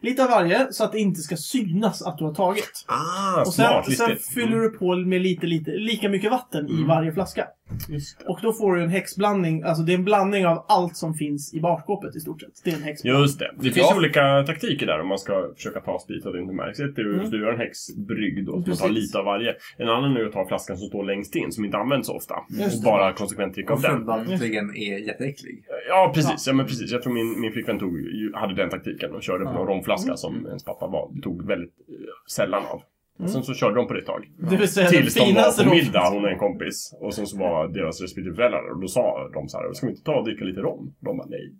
[SPEAKER 1] Lite av varje, så att det inte ska synas att du har tagit.
[SPEAKER 3] Ah,
[SPEAKER 1] Och sen,
[SPEAKER 3] smart.
[SPEAKER 1] sen
[SPEAKER 3] listigt. Mm.
[SPEAKER 1] fyller du på med lite, lite, lika mycket vatten i varje flaska. Just det. Och då får du en häxblandning, alltså det är en blandning av allt som finns i barskåpet i stort sett. Det är en häx.
[SPEAKER 3] Mm. Just det. Det finns
[SPEAKER 4] Ja.
[SPEAKER 3] olika taktiker där om man ska försöka ta sprit så att det inte märks. Ett är ju
[SPEAKER 1] Mm.
[SPEAKER 3] att du gör en häxbrygd och man
[SPEAKER 1] Precis.
[SPEAKER 3] tar lite av varje. En annan är att ta flaskan som står längst in, som inte används så ofta.
[SPEAKER 1] Just
[SPEAKER 3] Och
[SPEAKER 1] det.
[SPEAKER 3] bara konsekvent dricka av
[SPEAKER 2] Och
[SPEAKER 3] den.
[SPEAKER 2] följdäntligen är jätteäcklig.
[SPEAKER 3] Ja, precis. Ja, men precis. Jag tror min, min flickvän tog, ju- hade den taktiken och körde på någon romflaska som ens pappa var, tog väldigt eh, sällan av.
[SPEAKER 1] Mm.
[SPEAKER 3] Sen så körde de på det ett tag.
[SPEAKER 1] Det vill säga
[SPEAKER 3] Tills
[SPEAKER 1] den
[SPEAKER 3] de var
[SPEAKER 1] finaste
[SPEAKER 3] på
[SPEAKER 1] rom.
[SPEAKER 3] middag, hon och en kompis. Och sen så var deras respektive föräldrar där. och då sa de så här, ska vi inte ta och dricka lite rom? De bara nej.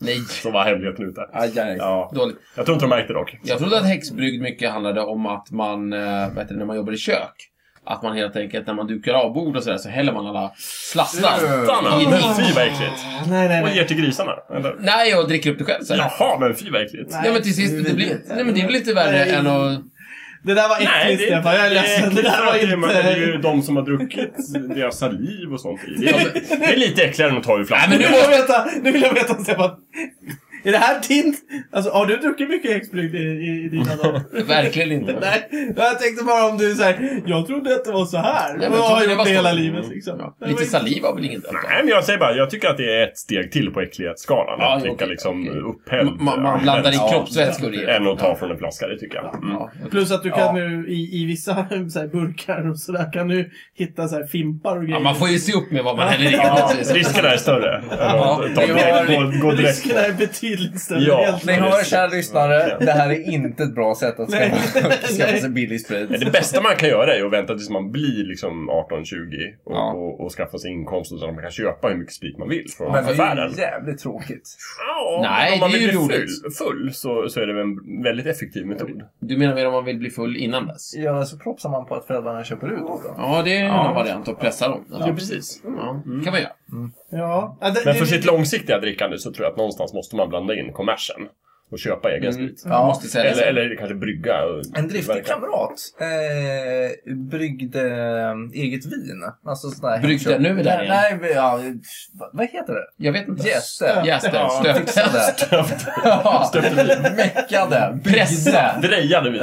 [SPEAKER 4] Nej.
[SPEAKER 3] Så var hemligheten ute.
[SPEAKER 2] Aj, aj.
[SPEAKER 3] Ja,
[SPEAKER 4] Dåligt.
[SPEAKER 3] jag tror inte de märkte dock.
[SPEAKER 4] Jag trodde att häxbrygd mycket handlade om att man, eh, vad heter det, när man jobbar i kök. Att man helt enkelt, när man dukar av bord och sådär, så häller man alla slassar.
[SPEAKER 3] Stanna!
[SPEAKER 4] Mm.
[SPEAKER 3] Men fy vad äckligt!
[SPEAKER 1] Nej, nej,
[SPEAKER 3] Och
[SPEAKER 1] nej.
[SPEAKER 3] ger till grisarna, eller?
[SPEAKER 4] Nej, jag dricker upp det själv sen.
[SPEAKER 3] Jaha, men fy vad äckligt!
[SPEAKER 1] Nej.
[SPEAKER 4] Ja, men till sist,
[SPEAKER 2] det är
[SPEAKER 4] det blir,
[SPEAKER 2] vidrigt.
[SPEAKER 4] nej, men det är väl inte värre
[SPEAKER 1] Nej.
[SPEAKER 4] än att...
[SPEAKER 1] Det där var äckligt
[SPEAKER 3] det är inte-
[SPEAKER 1] Stefan, jag är ledsen. Det
[SPEAKER 3] äckligt
[SPEAKER 1] där
[SPEAKER 3] för att det är- men
[SPEAKER 1] var
[SPEAKER 3] Det är ju
[SPEAKER 1] inte...
[SPEAKER 3] de som har druckit deras saliv och sånt i. Det
[SPEAKER 4] Ja,
[SPEAKER 3] är, det är lite äckligare än att ta ur flaskan.
[SPEAKER 4] Nej,
[SPEAKER 1] Nu
[SPEAKER 4] men
[SPEAKER 1] vill jag veta, nu vill jag veta Stefan. Är det här din... Alltså har du druckit mycket häxbrygd i, i, i dina dagar?
[SPEAKER 4] Verkligen inte.
[SPEAKER 1] Nej, jag tänkte bara om du såhär, jag trodde att det var så här.
[SPEAKER 4] men
[SPEAKER 1] och
[SPEAKER 4] jag
[SPEAKER 1] har
[SPEAKER 4] trodde det
[SPEAKER 1] gjort
[SPEAKER 4] var
[SPEAKER 1] det hela
[SPEAKER 4] så.
[SPEAKER 1] livet liksom.
[SPEAKER 4] Ja,
[SPEAKER 1] Det var
[SPEAKER 4] Lite
[SPEAKER 1] inte-
[SPEAKER 4] saliv var väl inget dumt.
[SPEAKER 3] Nej, men jag säger bara, jag tycker att det är ett steg till på äcklighetsskalan.
[SPEAKER 4] Ja,
[SPEAKER 3] att dricka
[SPEAKER 4] okej,
[SPEAKER 3] liksom
[SPEAKER 4] okej.
[SPEAKER 3] upphälld...
[SPEAKER 4] Man, man blandar i
[SPEAKER 3] Ja.
[SPEAKER 4] kroppsvätskor i.
[SPEAKER 3] Än att ta från en flaska, det tycker jag. Mm.
[SPEAKER 4] Ja.
[SPEAKER 1] Plus att du
[SPEAKER 4] Ja.
[SPEAKER 1] kan nu i, i vissa så här, burkar och sådär kan du hitta så här, fimpar och grejer.
[SPEAKER 4] Ja, man får ju se upp med vad man häller i.
[SPEAKER 3] Ja, riskerna är större. än att
[SPEAKER 2] Ja,
[SPEAKER 3] ta
[SPEAKER 2] vi har-
[SPEAKER 3] direkt, gå, gå direkt
[SPEAKER 1] Riskerna är betydligt större.
[SPEAKER 3] Ja.
[SPEAKER 1] helt
[SPEAKER 2] Ni
[SPEAKER 1] klart.
[SPEAKER 2] hör, kära lyssnare, det här är inte ett bra sätt att
[SPEAKER 1] Nej.
[SPEAKER 2] skaffa skaffa sig
[SPEAKER 1] Nej.
[SPEAKER 2] billig sprit.
[SPEAKER 3] Ja, Det bästa man kan göra är ju att vänta tills man blir liksom 18-20 och,
[SPEAKER 2] Ja.
[SPEAKER 3] och, och skaffa sig inkomster så att man kan köpa hur mycket sprit man vill från
[SPEAKER 2] Men det är
[SPEAKER 3] affären.
[SPEAKER 2] ju jävligt tråkigt.
[SPEAKER 3] Ja,
[SPEAKER 4] Nej,
[SPEAKER 3] men om man
[SPEAKER 4] det är
[SPEAKER 3] vill
[SPEAKER 4] ju
[SPEAKER 3] bli
[SPEAKER 4] roligt.
[SPEAKER 3] full, full så, så är det väl en väldigt effektiv metod.
[SPEAKER 4] Du menar mer om man vill bli full innan dess?
[SPEAKER 2] Ja, men så propsar man på att föräldrarna köper ut åt dem.
[SPEAKER 4] Ja, det är en annan variant. Att pressa dem. Ja,
[SPEAKER 3] precis. Mm.
[SPEAKER 4] ja. kan man göra.
[SPEAKER 1] Ja. Ja, det,
[SPEAKER 3] Men
[SPEAKER 1] det-
[SPEAKER 3] för sitt långsiktiga drickande så tror jag att någonstans måste man blanda in kommersen och köpa egen sprit.
[SPEAKER 4] Jag måste säga
[SPEAKER 3] Eller,
[SPEAKER 4] Mm. det.
[SPEAKER 3] eller kanske brygga. och
[SPEAKER 2] Mm. En driftig
[SPEAKER 3] tillverka.
[SPEAKER 2] kamrat eh, bryggde eh, eget vin. Alltså sån där
[SPEAKER 4] Bryggde?
[SPEAKER 2] hemköp-
[SPEAKER 4] Nu är vi där igen.
[SPEAKER 2] Nej, nej, ja, vad- vad heter det?
[SPEAKER 4] Jag vet inte.
[SPEAKER 2] Jäste.
[SPEAKER 4] Jäste.
[SPEAKER 2] Ja,
[SPEAKER 4] Stöpte.
[SPEAKER 2] fixade.
[SPEAKER 3] Stöpte vin.
[SPEAKER 2] Meckade.
[SPEAKER 4] Pressa.
[SPEAKER 2] Bryggde.
[SPEAKER 3] Drejade vin.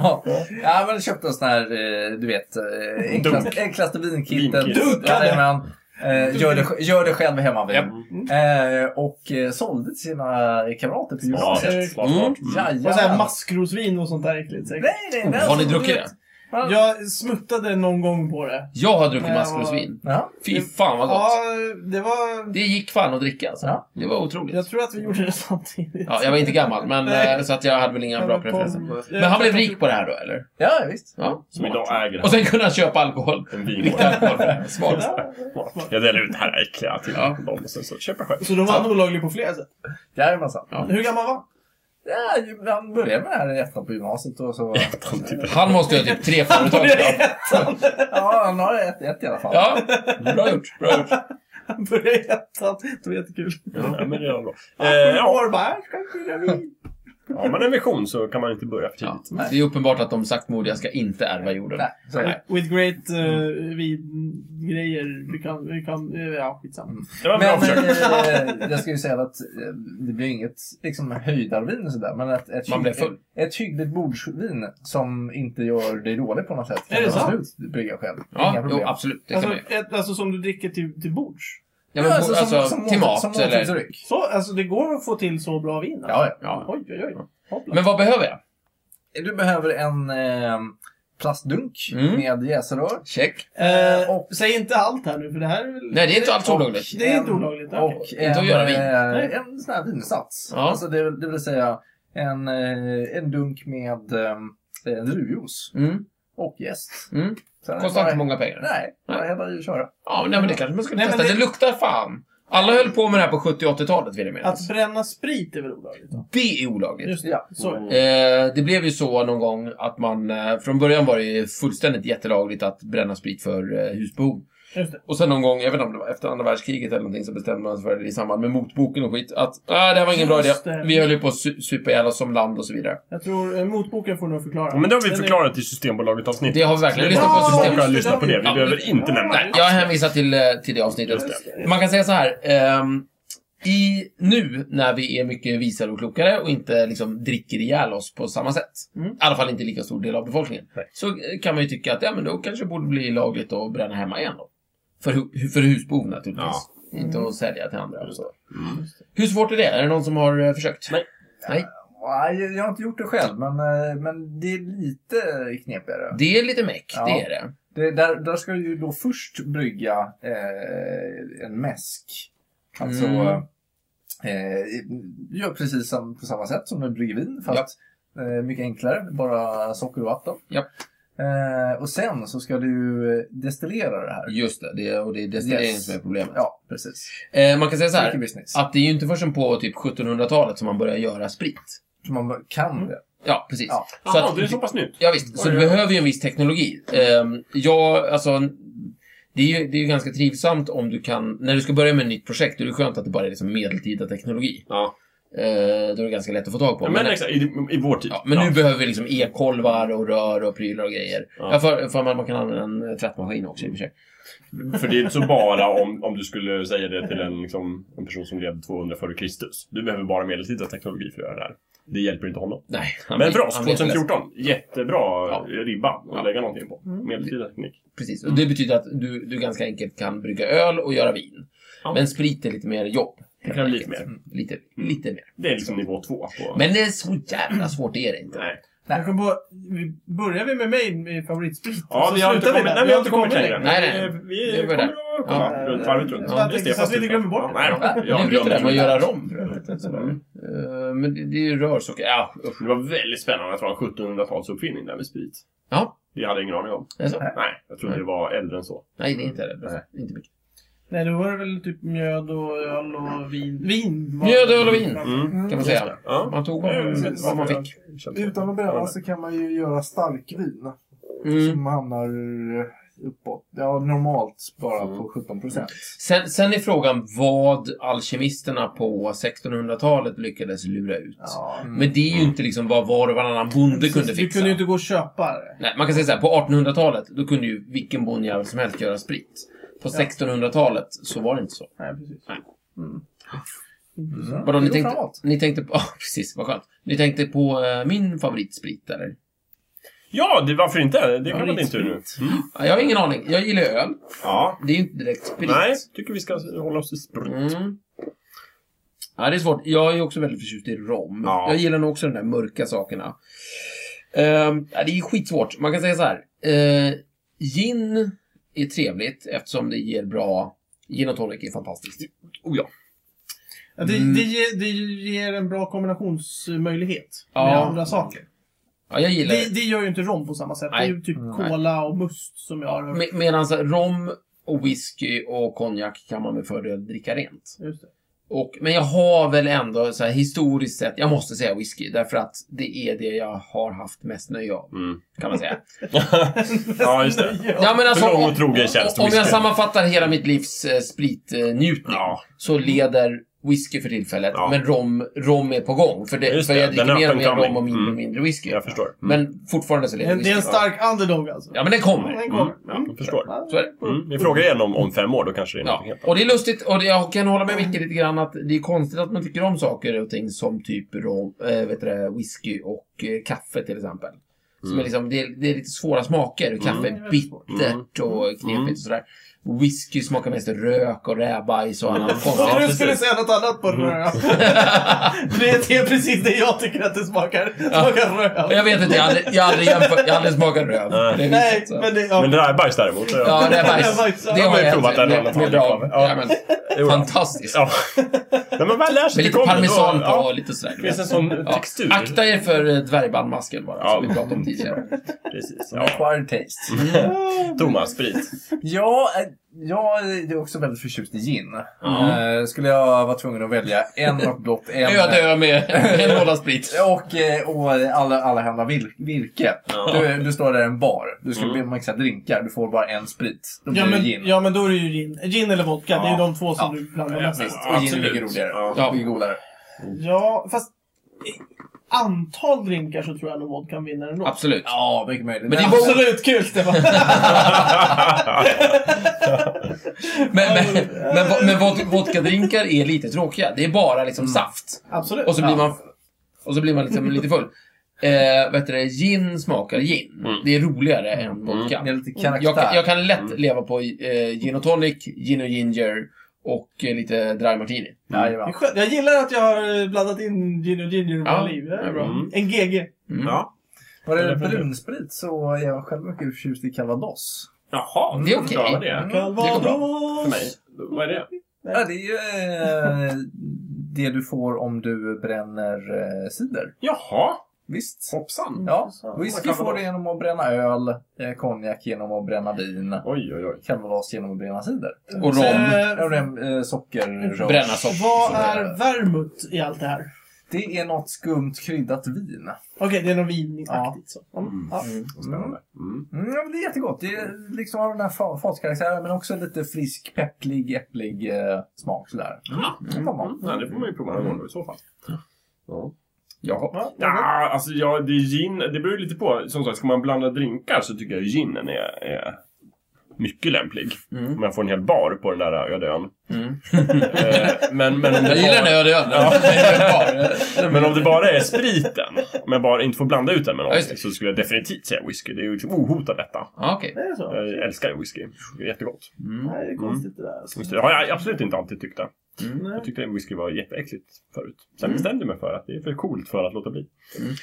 [SPEAKER 2] Ja, ja, men köpte en sån här, eh, du vet, eh, enklast- enklaste vinkittet.
[SPEAKER 3] Vinkit.
[SPEAKER 1] Dunkade.
[SPEAKER 2] Ja, man, eh, gör, det, gör det själv hemma
[SPEAKER 4] Japp.
[SPEAKER 2] eh, Och eh, sålde till sina kamrater
[SPEAKER 3] Smart,
[SPEAKER 2] på gymnasiet.
[SPEAKER 3] smart,
[SPEAKER 4] Mm.
[SPEAKER 3] smart.
[SPEAKER 1] Och så här
[SPEAKER 2] Jajamän.
[SPEAKER 1] maskrosvin och sånt där äckligt säkert.
[SPEAKER 2] Nej, nej, nej. alltså,
[SPEAKER 4] Har ni druckit det?
[SPEAKER 2] Ja.
[SPEAKER 1] Jag smuttade någon gång på det.
[SPEAKER 4] Jag har druckit
[SPEAKER 1] Ja.
[SPEAKER 4] maskrosvin.
[SPEAKER 2] Ja.
[SPEAKER 4] Fy fan vad gott.
[SPEAKER 1] Ja, det var...
[SPEAKER 4] Det gick fan att dricka alltså.
[SPEAKER 2] Ja.
[SPEAKER 4] Det var otroligt.
[SPEAKER 1] Jag tror att vi gjorde det samtidigt.
[SPEAKER 4] Ja, jag var inte gammal, men
[SPEAKER 1] Nej.
[SPEAKER 4] eh, så att jag hade väl inga
[SPEAKER 1] Ja,
[SPEAKER 4] bra
[SPEAKER 1] men kom-
[SPEAKER 4] preferenser.
[SPEAKER 1] eh,
[SPEAKER 4] Men han blev rik på det här då, eller?
[SPEAKER 2] ja, visst.
[SPEAKER 4] Ja.
[SPEAKER 3] Som idag äger
[SPEAKER 4] Och sen kunde han köpa alkohol.
[SPEAKER 3] en
[SPEAKER 4] Riktig
[SPEAKER 3] vingård.
[SPEAKER 4] alkohol. Smart.
[SPEAKER 3] Jag delar ut det här äckliga till
[SPEAKER 4] Ja.
[SPEAKER 3] dem och sen så köper jag själv.
[SPEAKER 1] Så de var olagliga på flera sätt.
[SPEAKER 2] Jajamensan.
[SPEAKER 1] Hur gammal var han?
[SPEAKER 2] Ja, ju- han började med det här i ettan på gymnasiet och så...
[SPEAKER 4] Han måste ju ha typ tre företag.
[SPEAKER 1] började i
[SPEAKER 4] Ja.
[SPEAKER 1] ettan.
[SPEAKER 2] Ja, han har ett, ett i alla fall.
[SPEAKER 4] ja. Bra gjort. Bra gjort.
[SPEAKER 1] Han började i ettan. Det var jättekul.
[SPEAKER 3] Ja, men det är bra. Eh,
[SPEAKER 1] Han eh,
[SPEAKER 3] ja,
[SPEAKER 1] år bara, jag ska dricka vin.
[SPEAKER 3] har man en vision så kan man inte börja för tidigt.
[SPEAKER 4] Ja. Det är uppenbart att de saktmodiga ska inte ärva jorden.
[SPEAKER 2] Nej, så är det.
[SPEAKER 1] With great uh, vingrejer. Vi kan, vi kan, eh, ja skitsamma.
[SPEAKER 3] Det var bra
[SPEAKER 2] Men
[SPEAKER 3] försök.
[SPEAKER 2] eh, jag ska ju säga att eh, det blir inget liksom, höjdarvin och sådär. Men ett, ett,
[SPEAKER 4] Man
[SPEAKER 2] hygg-
[SPEAKER 4] blir full.
[SPEAKER 2] ett, ett hyggligt bordsvin som inte gör dig dålig på något sätt.
[SPEAKER 1] Är det
[SPEAKER 2] du
[SPEAKER 1] sant?
[SPEAKER 2] absolut brygga själv. Inga
[SPEAKER 4] Ja,
[SPEAKER 2] problem.
[SPEAKER 4] jo, absolut. Det kan
[SPEAKER 1] Alltså,
[SPEAKER 4] man ju.
[SPEAKER 1] ett, alltså som du dricker till, till bords.
[SPEAKER 4] Ja, men, alltså, till
[SPEAKER 2] måltids-
[SPEAKER 4] mat eller...
[SPEAKER 2] måltidsdryck.
[SPEAKER 1] Så, alltså det går att få till så bra vin? Alltså.
[SPEAKER 2] Ja, ja.
[SPEAKER 4] Ja.
[SPEAKER 1] Oj, oj, oj. Hoppla.
[SPEAKER 4] Men vad behöver jag?
[SPEAKER 2] Du behöver en eh, plastdunk
[SPEAKER 4] Mm.
[SPEAKER 2] med jäserör.
[SPEAKER 4] Check.
[SPEAKER 1] Eh,
[SPEAKER 2] Eh, och-
[SPEAKER 1] Säg inte allt här nu, för det här är väl...
[SPEAKER 4] Nej, det är inte alls
[SPEAKER 2] Och-
[SPEAKER 4] olagligt.
[SPEAKER 1] Det är inte
[SPEAKER 2] en-
[SPEAKER 1] olagligt, okej.
[SPEAKER 2] Och
[SPEAKER 4] Inte att göra vin.
[SPEAKER 2] eh, en sån här vinsats.
[SPEAKER 4] Ja.
[SPEAKER 2] Alltså det, det vill säga en, eh, en dunk med eh, druvjuice
[SPEAKER 4] Mm.
[SPEAKER 2] och jäst.
[SPEAKER 4] Mm.
[SPEAKER 2] Sen är det
[SPEAKER 4] Kostar
[SPEAKER 2] bara-
[SPEAKER 4] inte många pengar.
[SPEAKER 2] Nej, bara hälla i och köra.
[SPEAKER 4] Ja, men- nej, men det kanske man skulle
[SPEAKER 1] Nej, men
[SPEAKER 4] testa. Det...
[SPEAKER 1] det-
[SPEAKER 4] luktar fan. Alla höll på med det här på 70 och 80-talet vill jag
[SPEAKER 1] Att
[SPEAKER 4] minnas.
[SPEAKER 1] bränna sprit är väl olagligt? Då?
[SPEAKER 4] Det är olagligt.
[SPEAKER 1] Just det.
[SPEAKER 2] Ja.
[SPEAKER 1] Så. är det.
[SPEAKER 4] Eh, det blev ju så någon gång att man... Eh, från början var det ju fullständigt jättelagligt att bränna sprit för eh, husbehov.
[SPEAKER 1] Just det.
[SPEAKER 4] Och sen någon gång, jag vet inte om det var efter andra världskriget eller någonting, så bestämde man sig för det i samband med motboken och skit. Att ah, det här var ingen bra idé.
[SPEAKER 1] Just det.
[SPEAKER 4] Vi höll ju på att su- supa ihjäl oss som land och så vidare.
[SPEAKER 1] Jag tror eh, motboken får nog förklara. eh,
[SPEAKER 3] Ja, Men det har vi
[SPEAKER 1] Den är-
[SPEAKER 3] förklarat i Systembolaget-avsnittet.
[SPEAKER 4] eh, Det har vi verkligen
[SPEAKER 3] Det är
[SPEAKER 4] lyssnat
[SPEAKER 3] bara
[SPEAKER 4] på.
[SPEAKER 3] att gå
[SPEAKER 1] Ja,
[SPEAKER 4] System.
[SPEAKER 3] tillbaka och
[SPEAKER 1] just det,
[SPEAKER 3] lyssna på det. Vi
[SPEAKER 4] ja.
[SPEAKER 3] behöver inte nämna
[SPEAKER 4] Nej,
[SPEAKER 3] det.
[SPEAKER 4] jag hänvisar till, eh, till det avsnittet.
[SPEAKER 3] Just det.
[SPEAKER 4] Man kan säga så här. ehm, i, nu när vi är mycket visare och klokare och inte liksom dricker ihjäl oss på samma sätt.
[SPEAKER 1] Mm.
[SPEAKER 4] I alla fall inte lika stor del av befolkningen.
[SPEAKER 3] Nej.
[SPEAKER 4] Så eh, kan man ju tycka att ja, men då kanske det borde bli lagligt att bränna hemma igen då. För, hu- för husbehov naturligtvis. Inte
[SPEAKER 2] Mm.
[SPEAKER 4] att sälja till andra. Och så. Hur svårt är det? Är det någon som har eh, försökt?
[SPEAKER 3] Nej.
[SPEAKER 4] Nej.
[SPEAKER 2] Nej, jag har inte gjort det själv, men, eh, men det är lite knepigare.
[SPEAKER 4] Det är lite meck,
[SPEAKER 2] Ja.
[SPEAKER 4] det är det.
[SPEAKER 2] Det, där, där ska du ju då först brygga eh, en mäsk. Alltså,
[SPEAKER 4] Mm.
[SPEAKER 2] eh, gör precis som, på samma sätt som du brygger vin,
[SPEAKER 4] Ja.
[SPEAKER 2] fast eh, mycket enklare. Bara socker och vatten.
[SPEAKER 4] Ja.
[SPEAKER 2] Eh, och sen så ska du eh, destillera det här.
[SPEAKER 4] Just det, det är, och det är destilleringen
[SPEAKER 2] Yes.
[SPEAKER 4] som är problemet.
[SPEAKER 2] Ja, precis.
[SPEAKER 4] Eh, man kan säga så här,
[SPEAKER 2] Mycket business.
[SPEAKER 4] att det är ju inte förrän på typ 1700-talet som man börjar göra sprit.
[SPEAKER 2] Så man
[SPEAKER 4] Mm.
[SPEAKER 2] kan det.
[SPEAKER 4] Ja, precis.
[SPEAKER 2] Ja.
[SPEAKER 4] Så
[SPEAKER 3] Jaha,
[SPEAKER 4] att-
[SPEAKER 3] det är så pass nytt.
[SPEAKER 4] Ja, visst, så
[SPEAKER 3] Oj,
[SPEAKER 4] du
[SPEAKER 3] oj, oj.
[SPEAKER 4] behöver ju en viss teknologi. Ehm, ja, alltså... Det är, ju, det är ju ganska trivsamt om du kan... När du ska börja med ett nytt projekt, då är det skönt att det bara är liksom medeltida teknologi.
[SPEAKER 3] Ja.
[SPEAKER 4] Eh, då är det ganska lätt att få tag på.
[SPEAKER 3] Ja, men exakt, i, i vår tid.
[SPEAKER 4] ja, men nu behöver vi liksom e-kolvar och rör och prylar och grejer.
[SPEAKER 3] Ja.
[SPEAKER 4] Ja. för, för man, man kan använda en eh, tvättmaskin också i och för sig.
[SPEAKER 3] För det är inte så bara om, om du skulle säga det till en, liksom, en person som levde 200 före Kristus. Du behöver bara medeltida teknologi för att göra det här. Det hjälper inte honom.
[SPEAKER 4] Nej, han
[SPEAKER 3] Men
[SPEAKER 4] vet-
[SPEAKER 3] för oss,
[SPEAKER 4] han vet inte.
[SPEAKER 3] 2014, jättebra
[SPEAKER 4] Ja.
[SPEAKER 3] ribba att
[SPEAKER 4] Ja.
[SPEAKER 3] lägga någonting på.
[SPEAKER 1] Mm.
[SPEAKER 3] Medeltida teknik.
[SPEAKER 4] Precis, och det betyder att du, du ganska enkelt kan brygga öl och göra vin.
[SPEAKER 3] Ja.
[SPEAKER 4] Men sprit är lite mer jobb.
[SPEAKER 3] Det kan bli lite
[SPEAKER 4] helt
[SPEAKER 3] mer.
[SPEAKER 4] enkelt. Mm, Lite, lite mer.
[SPEAKER 3] Det är liksom nivå två på...
[SPEAKER 4] Men det är så jävla svårt det är det inte.
[SPEAKER 3] Nej.
[SPEAKER 1] Jag kom på, vi- börjar vi med mig med favoritsprit?
[SPEAKER 3] Ja,
[SPEAKER 1] Så
[SPEAKER 3] vi har inte
[SPEAKER 1] slutar där.
[SPEAKER 3] kommit, nej, vi har inte kommit längre.
[SPEAKER 4] Nej, nej.
[SPEAKER 3] Eh, Vi
[SPEAKER 4] Det var
[SPEAKER 3] kommer
[SPEAKER 4] där.
[SPEAKER 3] att komma
[SPEAKER 1] Ja.
[SPEAKER 3] runt varvet runt.
[SPEAKER 1] Ja, jag
[SPEAKER 3] Det är
[SPEAKER 1] tänkte så att vi inte glömmer bort det.
[SPEAKER 3] Nej,
[SPEAKER 4] Ja,
[SPEAKER 3] jag
[SPEAKER 4] jag det är det där med att
[SPEAKER 3] glömde
[SPEAKER 4] göra
[SPEAKER 3] det.
[SPEAKER 4] rom för övrigt. Sådär. Eh, Men det, det är ju rörsocker. Ja, usch.
[SPEAKER 3] Det var väldigt spännande att det var en 1700-talsuppfinning där med sprit.
[SPEAKER 4] Ja,
[SPEAKER 3] Det hade jag ingen aning om.
[SPEAKER 4] är det så?
[SPEAKER 3] Nej, jag trodde
[SPEAKER 4] Nej.
[SPEAKER 3] det var äldre än så.
[SPEAKER 4] Nej, det är inte det.
[SPEAKER 3] Nej.
[SPEAKER 4] Inte mycket.
[SPEAKER 1] Nej, då var det väl typ mjöd och öl och vin. Vin! var-
[SPEAKER 4] Mjöd, öl och vin.
[SPEAKER 3] Mm.
[SPEAKER 4] Kan man säga. Man tog vad man, vad man fick.
[SPEAKER 5] Utan att bränna så kan man ju göra starkvin
[SPEAKER 4] Mm.
[SPEAKER 5] som hamnar uppåt. Ja, normalt bara
[SPEAKER 3] Mm.
[SPEAKER 5] på 17 procent.
[SPEAKER 4] Sen, sen är frågan vad alkemisterna på 1600-talet lyckades lura ut.
[SPEAKER 5] Ja.
[SPEAKER 4] Men det är ju inte liksom vad var och varannan bonde kunde
[SPEAKER 1] Du
[SPEAKER 4] fixa.
[SPEAKER 1] kunde ju inte gå och köpa det.
[SPEAKER 4] Nej, man kan säga så här, på 1800-talet då kunde ju vilken bondjävel som helst göra sprit. På 1600-talet så var det inte så.
[SPEAKER 1] Nej, precis.
[SPEAKER 4] Nej.
[SPEAKER 1] Mm.
[SPEAKER 4] Vadå, ni
[SPEAKER 2] Mm. går
[SPEAKER 4] tänkte,
[SPEAKER 2] framåt.
[SPEAKER 4] ni tänkte på... Ja, precis. Vad skönt. Ni tänkte på eh, min favoritsprit, eller?
[SPEAKER 3] Ja, det, varför inte? Det kan vara din tur nu.
[SPEAKER 4] Favoritsprit. Ja, Jag har ingen aning. Jag gillar ju öl.
[SPEAKER 3] Ja.
[SPEAKER 4] Det är ju inte direkt sprit.
[SPEAKER 3] Nej, tycker vi ska hålla oss till sprit.
[SPEAKER 4] Mm. Ja, det är svårt. Jag är ju också väldigt förtjust i rom.
[SPEAKER 3] Ja.
[SPEAKER 4] Jag gillar nog också de där mörka sakerna. Ehm, ja, det är skitsvårt. Man kan säga så här. eh, gin är trevligt eftersom det ger bra... Gin och tonic är fantastiskt.
[SPEAKER 3] Oh ja.
[SPEAKER 1] Ja, det,
[SPEAKER 4] Mm.
[SPEAKER 1] det, ger, det ger en bra kombinationsmöjlighet med
[SPEAKER 4] Ja.
[SPEAKER 1] andra saker.
[SPEAKER 4] Ja, jag gillar
[SPEAKER 1] Det, det gör ju inte rom på samma sätt.
[SPEAKER 4] Nej.
[SPEAKER 1] Det är ju typ
[SPEAKER 2] Mm,
[SPEAKER 4] nej.
[SPEAKER 1] cola och must som jag har hört.
[SPEAKER 4] Med, medan rom och whisky och konjak kan man med fördel dricka rent.
[SPEAKER 1] Just det.
[SPEAKER 4] Och, men jag har väl ändå så här, historiskt sett, jag måste säga whisky därför att det är det jag har haft mest nöje av,
[SPEAKER 3] Mm.
[SPEAKER 4] kan man säga.
[SPEAKER 3] ja, just det.
[SPEAKER 4] ja, men alltså,
[SPEAKER 3] Hur lång
[SPEAKER 4] om,
[SPEAKER 3] och trogen tjänst
[SPEAKER 4] om jag
[SPEAKER 3] whisky.
[SPEAKER 4] sammanfattar hela mitt livs eh, spritnjutning
[SPEAKER 3] Ja,
[SPEAKER 4] så leder whisky för tillfället,
[SPEAKER 3] Ja.
[SPEAKER 4] men rom, rom är på gång. För, det,
[SPEAKER 3] Just
[SPEAKER 4] för
[SPEAKER 3] det,
[SPEAKER 4] jag
[SPEAKER 3] den
[SPEAKER 4] dricker
[SPEAKER 3] är
[SPEAKER 4] mer och
[SPEAKER 3] up and
[SPEAKER 4] mer rom
[SPEAKER 3] coming.
[SPEAKER 4] och mindre och
[SPEAKER 3] Mm.
[SPEAKER 4] mindre whisky.
[SPEAKER 3] jag förstår. Mm.
[SPEAKER 4] Men fortfarande så
[SPEAKER 1] Det
[SPEAKER 4] leder
[SPEAKER 1] är en- det är
[SPEAKER 4] whisky.
[SPEAKER 1] en stark underdog alltså.
[SPEAKER 4] Ja, men den kommer.
[SPEAKER 1] Den
[SPEAKER 3] Mm.
[SPEAKER 1] kommer.
[SPEAKER 3] Ja, jag förstår.
[SPEAKER 1] Ja.
[SPEAKER 4] Så är det.
[SPEAKER 3] Mm. Vi frågar igen om, om fem år, då kanske det är
[SPEAKER 4] Ja,
[SPEAKER 3] någonting helt annat.
[SPEAKER 4] och det är lustigt, och det, jag kan hålla med Micke lite grann att det är konstigt att man tycker om saker och ting som typ rom, äh, vet du, det, whisky och eh, kaffe till exempel. Som
[SPEAKER 3] Mm.
[SPEAKER 4] är liksom, det, är, det är lite svåra smaker. Kaffe
[SPEAKER 1] Mm.
[SPEAKER 4] är bittert och knepigt
[SPEAKER 3] Mm.
[SPEAKER 4] och sådär. Whisky smakar mest rök och rävbajs och annat
[SPEAKER 1] Ja,
[SPEAKER 4] konstigt.
[SPEAKER 1] du skulle säga något annat på den här. Det är precis det jag tycker att det smakar. Smakar
[SPEAKER 4] Och
[SPEAKER 1] röv.
[SPEAKER 4] jag vet inte, jag har aldrig, jag har aldrig, jämfört- jag har aldrig smakat röv.
[SPEAKER 3] Nej.
[SPEAKER 4] på det
[SPEAKER 1] Nej,
[SPEAKER 4] viset, så.
[SPEAKER 1] men det... Ja.
[SPEAKER 3] Men rävbajs däremot.
[SPEAKER 4] Ja, rävbajs.
[SPEAKER 1] Rävbajs, ja.
[SPEAKER 4] Det
[SPEAKER 3] Jag
[SPEAKER 4] har
[SPEAKER 3] har
[SPEAKER 4] jag
[SPEAKER 3] provat
[SPEAKER 4] ätit.
[SPEAKER 3] det här
[SPEAKER 4] Det- det är
[SPEAKER 3] annat
[SPEAKER 4] bra.
[SPEAKER 3] fall. Ja.
[SPEAKER 4] Ja, men,
[SPEAKER 3] Jo, ja.
[SPEAKER 4] fantastiskt.
[SPEAKER 3] Ja. Men man väl lär sig
[SPEAKER 4] Med lite
[SPEAKER 3] till kommer, då-
[SPEAKER 4] parmesan på
[SPEAKER 3] ja.
[SPEAKER 4] och lite sådär.
[SPEAKER 3] Det finns en sån textur.
[SPEAKER 4] Akta er för eh, dvärgbandmasken bara,
[SPEAKER 3] Ja.
[SPEAKER 4] som vi pratade om tidigare.
[SPEAKER 3] Precis.
[SPEAKER 2] Ja.
[SPEAKER 3] Ja. Mm.
[SPEAKER 2] Acquired taste.
[SPEAKER 3] Thomas, sprit.
[SPEAKER 2] Ja, eh, jag är också väldigt förtjust i gin.
[SPEAKER 4] Ja.
[SPEAKER 2] Eh, skulle jag vara tvungen att välja en och blott en.
[SPEAKER 4] Öde ö med en låda sprit.
[SPEAKER 2] Och, eh, och alla, alla händer vil, virke.
[SPEAKER 3] Ja.
[SPEAKER 2] Du, du står där i en bar. Du ska
[SPEAKER 3] Mm.
[SPEAKER 2] mm. mixa drinkar. Du får bara en sprit. Då blir
[SPEAKER 1] Ja
[SPEAKER 2] det
[SPEAKER 1] men,
[SPEAKER 2] gin.
[SPEAKER 1] ja, men då är det ju gin. Gin eller vodka, det är
[SPEAKER 2] Ja.
[SPEAKER 1] ju de två som
[SPEAKER 2] Ja.
[SPEAKER 1] du blandar
[SPEAKER 3] Ja,
[SPEAKER 1] mest.
[SPEAKER 2] Visst, och gin är
[SPEAKER 3] Absolut.
[SPEAKER 2] mycket roligare.
[SPEAKER 3] Ja.
[SPEAKER 4] Ja.
[SPEAKER 2] Mycket godare.
[SPEAKER 1] Ja, fast i antal drinkar så tror jag nog vodkan vinner ändå.
[SPEAKER 4] Absolut.
[SPEAKER 2] Ja, mycket möjligt.
[SPEAKER 4] Men det är bara-
[SPEAKER 1] Absolut kul Stefan!
[SPEAKER 4] Men, men, men, vo- men vod- vodkadrinkar är lite tråkiga. Det är bara liksom saft.
[SPEAKER 1] Absolut.
[SPEAKER 4] Och så blir man, och så blir man liksom lite full. eh, vad heter det, gin smakar gin.
[SPEAKER 3] Mm.
[SPEAKER 4] Det är roligare
[SPEAKER 2] Mm.
[SPEAKER 4] än vodka.
[SPEAKER 2] Det är lite karaktär.
[SPEAKER 4] Jag, kan- jag kan lätt
[SPEAKER 3] Mm.
[SPEAKER 4] leva på eh, gin och tonic, gin och ginger och eh, lite dry martini.
[SPEAKER 1] Det är
[SPEAKER 2] Jajamän.
[SPEAKER 1] skönt. Jag gillar att jag har blandat in gin och ginger i
[SPEAKER 4] Ja,
[SPEAKER 1] våra liv. Det är bra.
[SPEAKER 3] mm.
[SPEAKER 1] En GG.
[SPEAKER 4] Mm.
[SPEAKER 2] Ja. Vad det
[SPEAKER 3] Eller för-
[SPEAKER 2] brunsprit så är jag själv mycket förtjust i calvados.
[SPEAKER 3] Jaha,
[SPEAKER 4] Det är okej.
[SPEAKER 3] Ja, det är.
[SPEAKER 2] Mm.
[SPEAKER 3] går bra.
[SPEAKER 1] Calvados.
[SPEAKER 3] För mig. Vad är det?
[SPEAKER 2] Ja, det är ju eh, det du får om du bränner eh, cider.
[SPEAKER 3] Jaha,
[SPEAKER 2] Visst.
[SPEAKER 3] hoppsan.
[SPEAKER 2] Ja,
[SPEAKER 1] Intressant.
[SPEAKER 2] whisky får du genom att bränna öl, eh, konjak genom att bränna vin,
[SPEAKER 3] Oj, oj, oj.
[SPEAKER 2] calvados genom att bränna cider.
[SPEAKER 4] Och rom.
[SPEAKER 1] Eh,
[SPEAKER 2] Och den, eh, socker, rom.
[SPEAKER 4] Bränna socker.
[SPEAKER 1] Vad
[SPEAKER 2] Så-
[SPEAKER 1] är vermouth i allt det här?
[SPEAKER 2] Det är något skumt kryddat vin.
[SPEAKER 1] Okej, det är något vinaktigt. så. Mm. Ja.
[SPEAKER 3] Vad Spännande. Mm.
[SPEAKER 2] Mm, ja, men det är jättegott. Det är, liksom har den här fa- fatkaraktären men också lite frisk, pepplig, äpplig eh, smak sådär. Mm.
[SPEAKER 3] Mm. Ja, det får man ju prova någon gång då i så fall. Ja.
[SPEAKER 4] Jaha.
[SPEAKER 1] Ja,
[SPEAKER 3] Ja, alltså ja, det är gin. Det beror ju lite på. Som sagt, ska man blanda drinkar så tycker jag ginen är, är mycket lämplig.
[SPEAKER 4] Mm.
[SPEAKER 3] Om jag får en hel bar på den där öde ön.
[SPEAKER 4] Mm.
[SPEAKER 3] Eh, men, men, om
[SPEAKER 4] Jag
[SPEAKER 3] det
[SPEAKER 4] gillar
[SPEAKER 3] bara,
[SPEAKER 4] den ölen.
[SPEAKER 3] Ja.
[SPEAKER 4] Ja.
[SPEAKER 3] men om det bara är spriten, om jag bara inte får blanda ut den med någonting,
[SPEAKER 4] just det.
[SPEAKER 3] så skulle jag definitivt säga whisky. Det är ju liksom ohotad detta.
[SPEAKER 4] Ja, okej.
[SPEAKER 1] det är så.
[SPEAKER 3] Jag älskar ju whisky. Det är jättegott.
[SPEAKER 4] Mm.
[SPEAKER 1] Nej, det är konstigt det där. alltså.
[SPEAKER 3] Just det, Det har jag absolut inte alltid tyckt det.
[SPEAKER 1] Nej.
[SPEAKER 3] Jag tyckte whisky var jätteäckligt förut. Sen bestämde jag mig för att det är för coolt för att låta bli.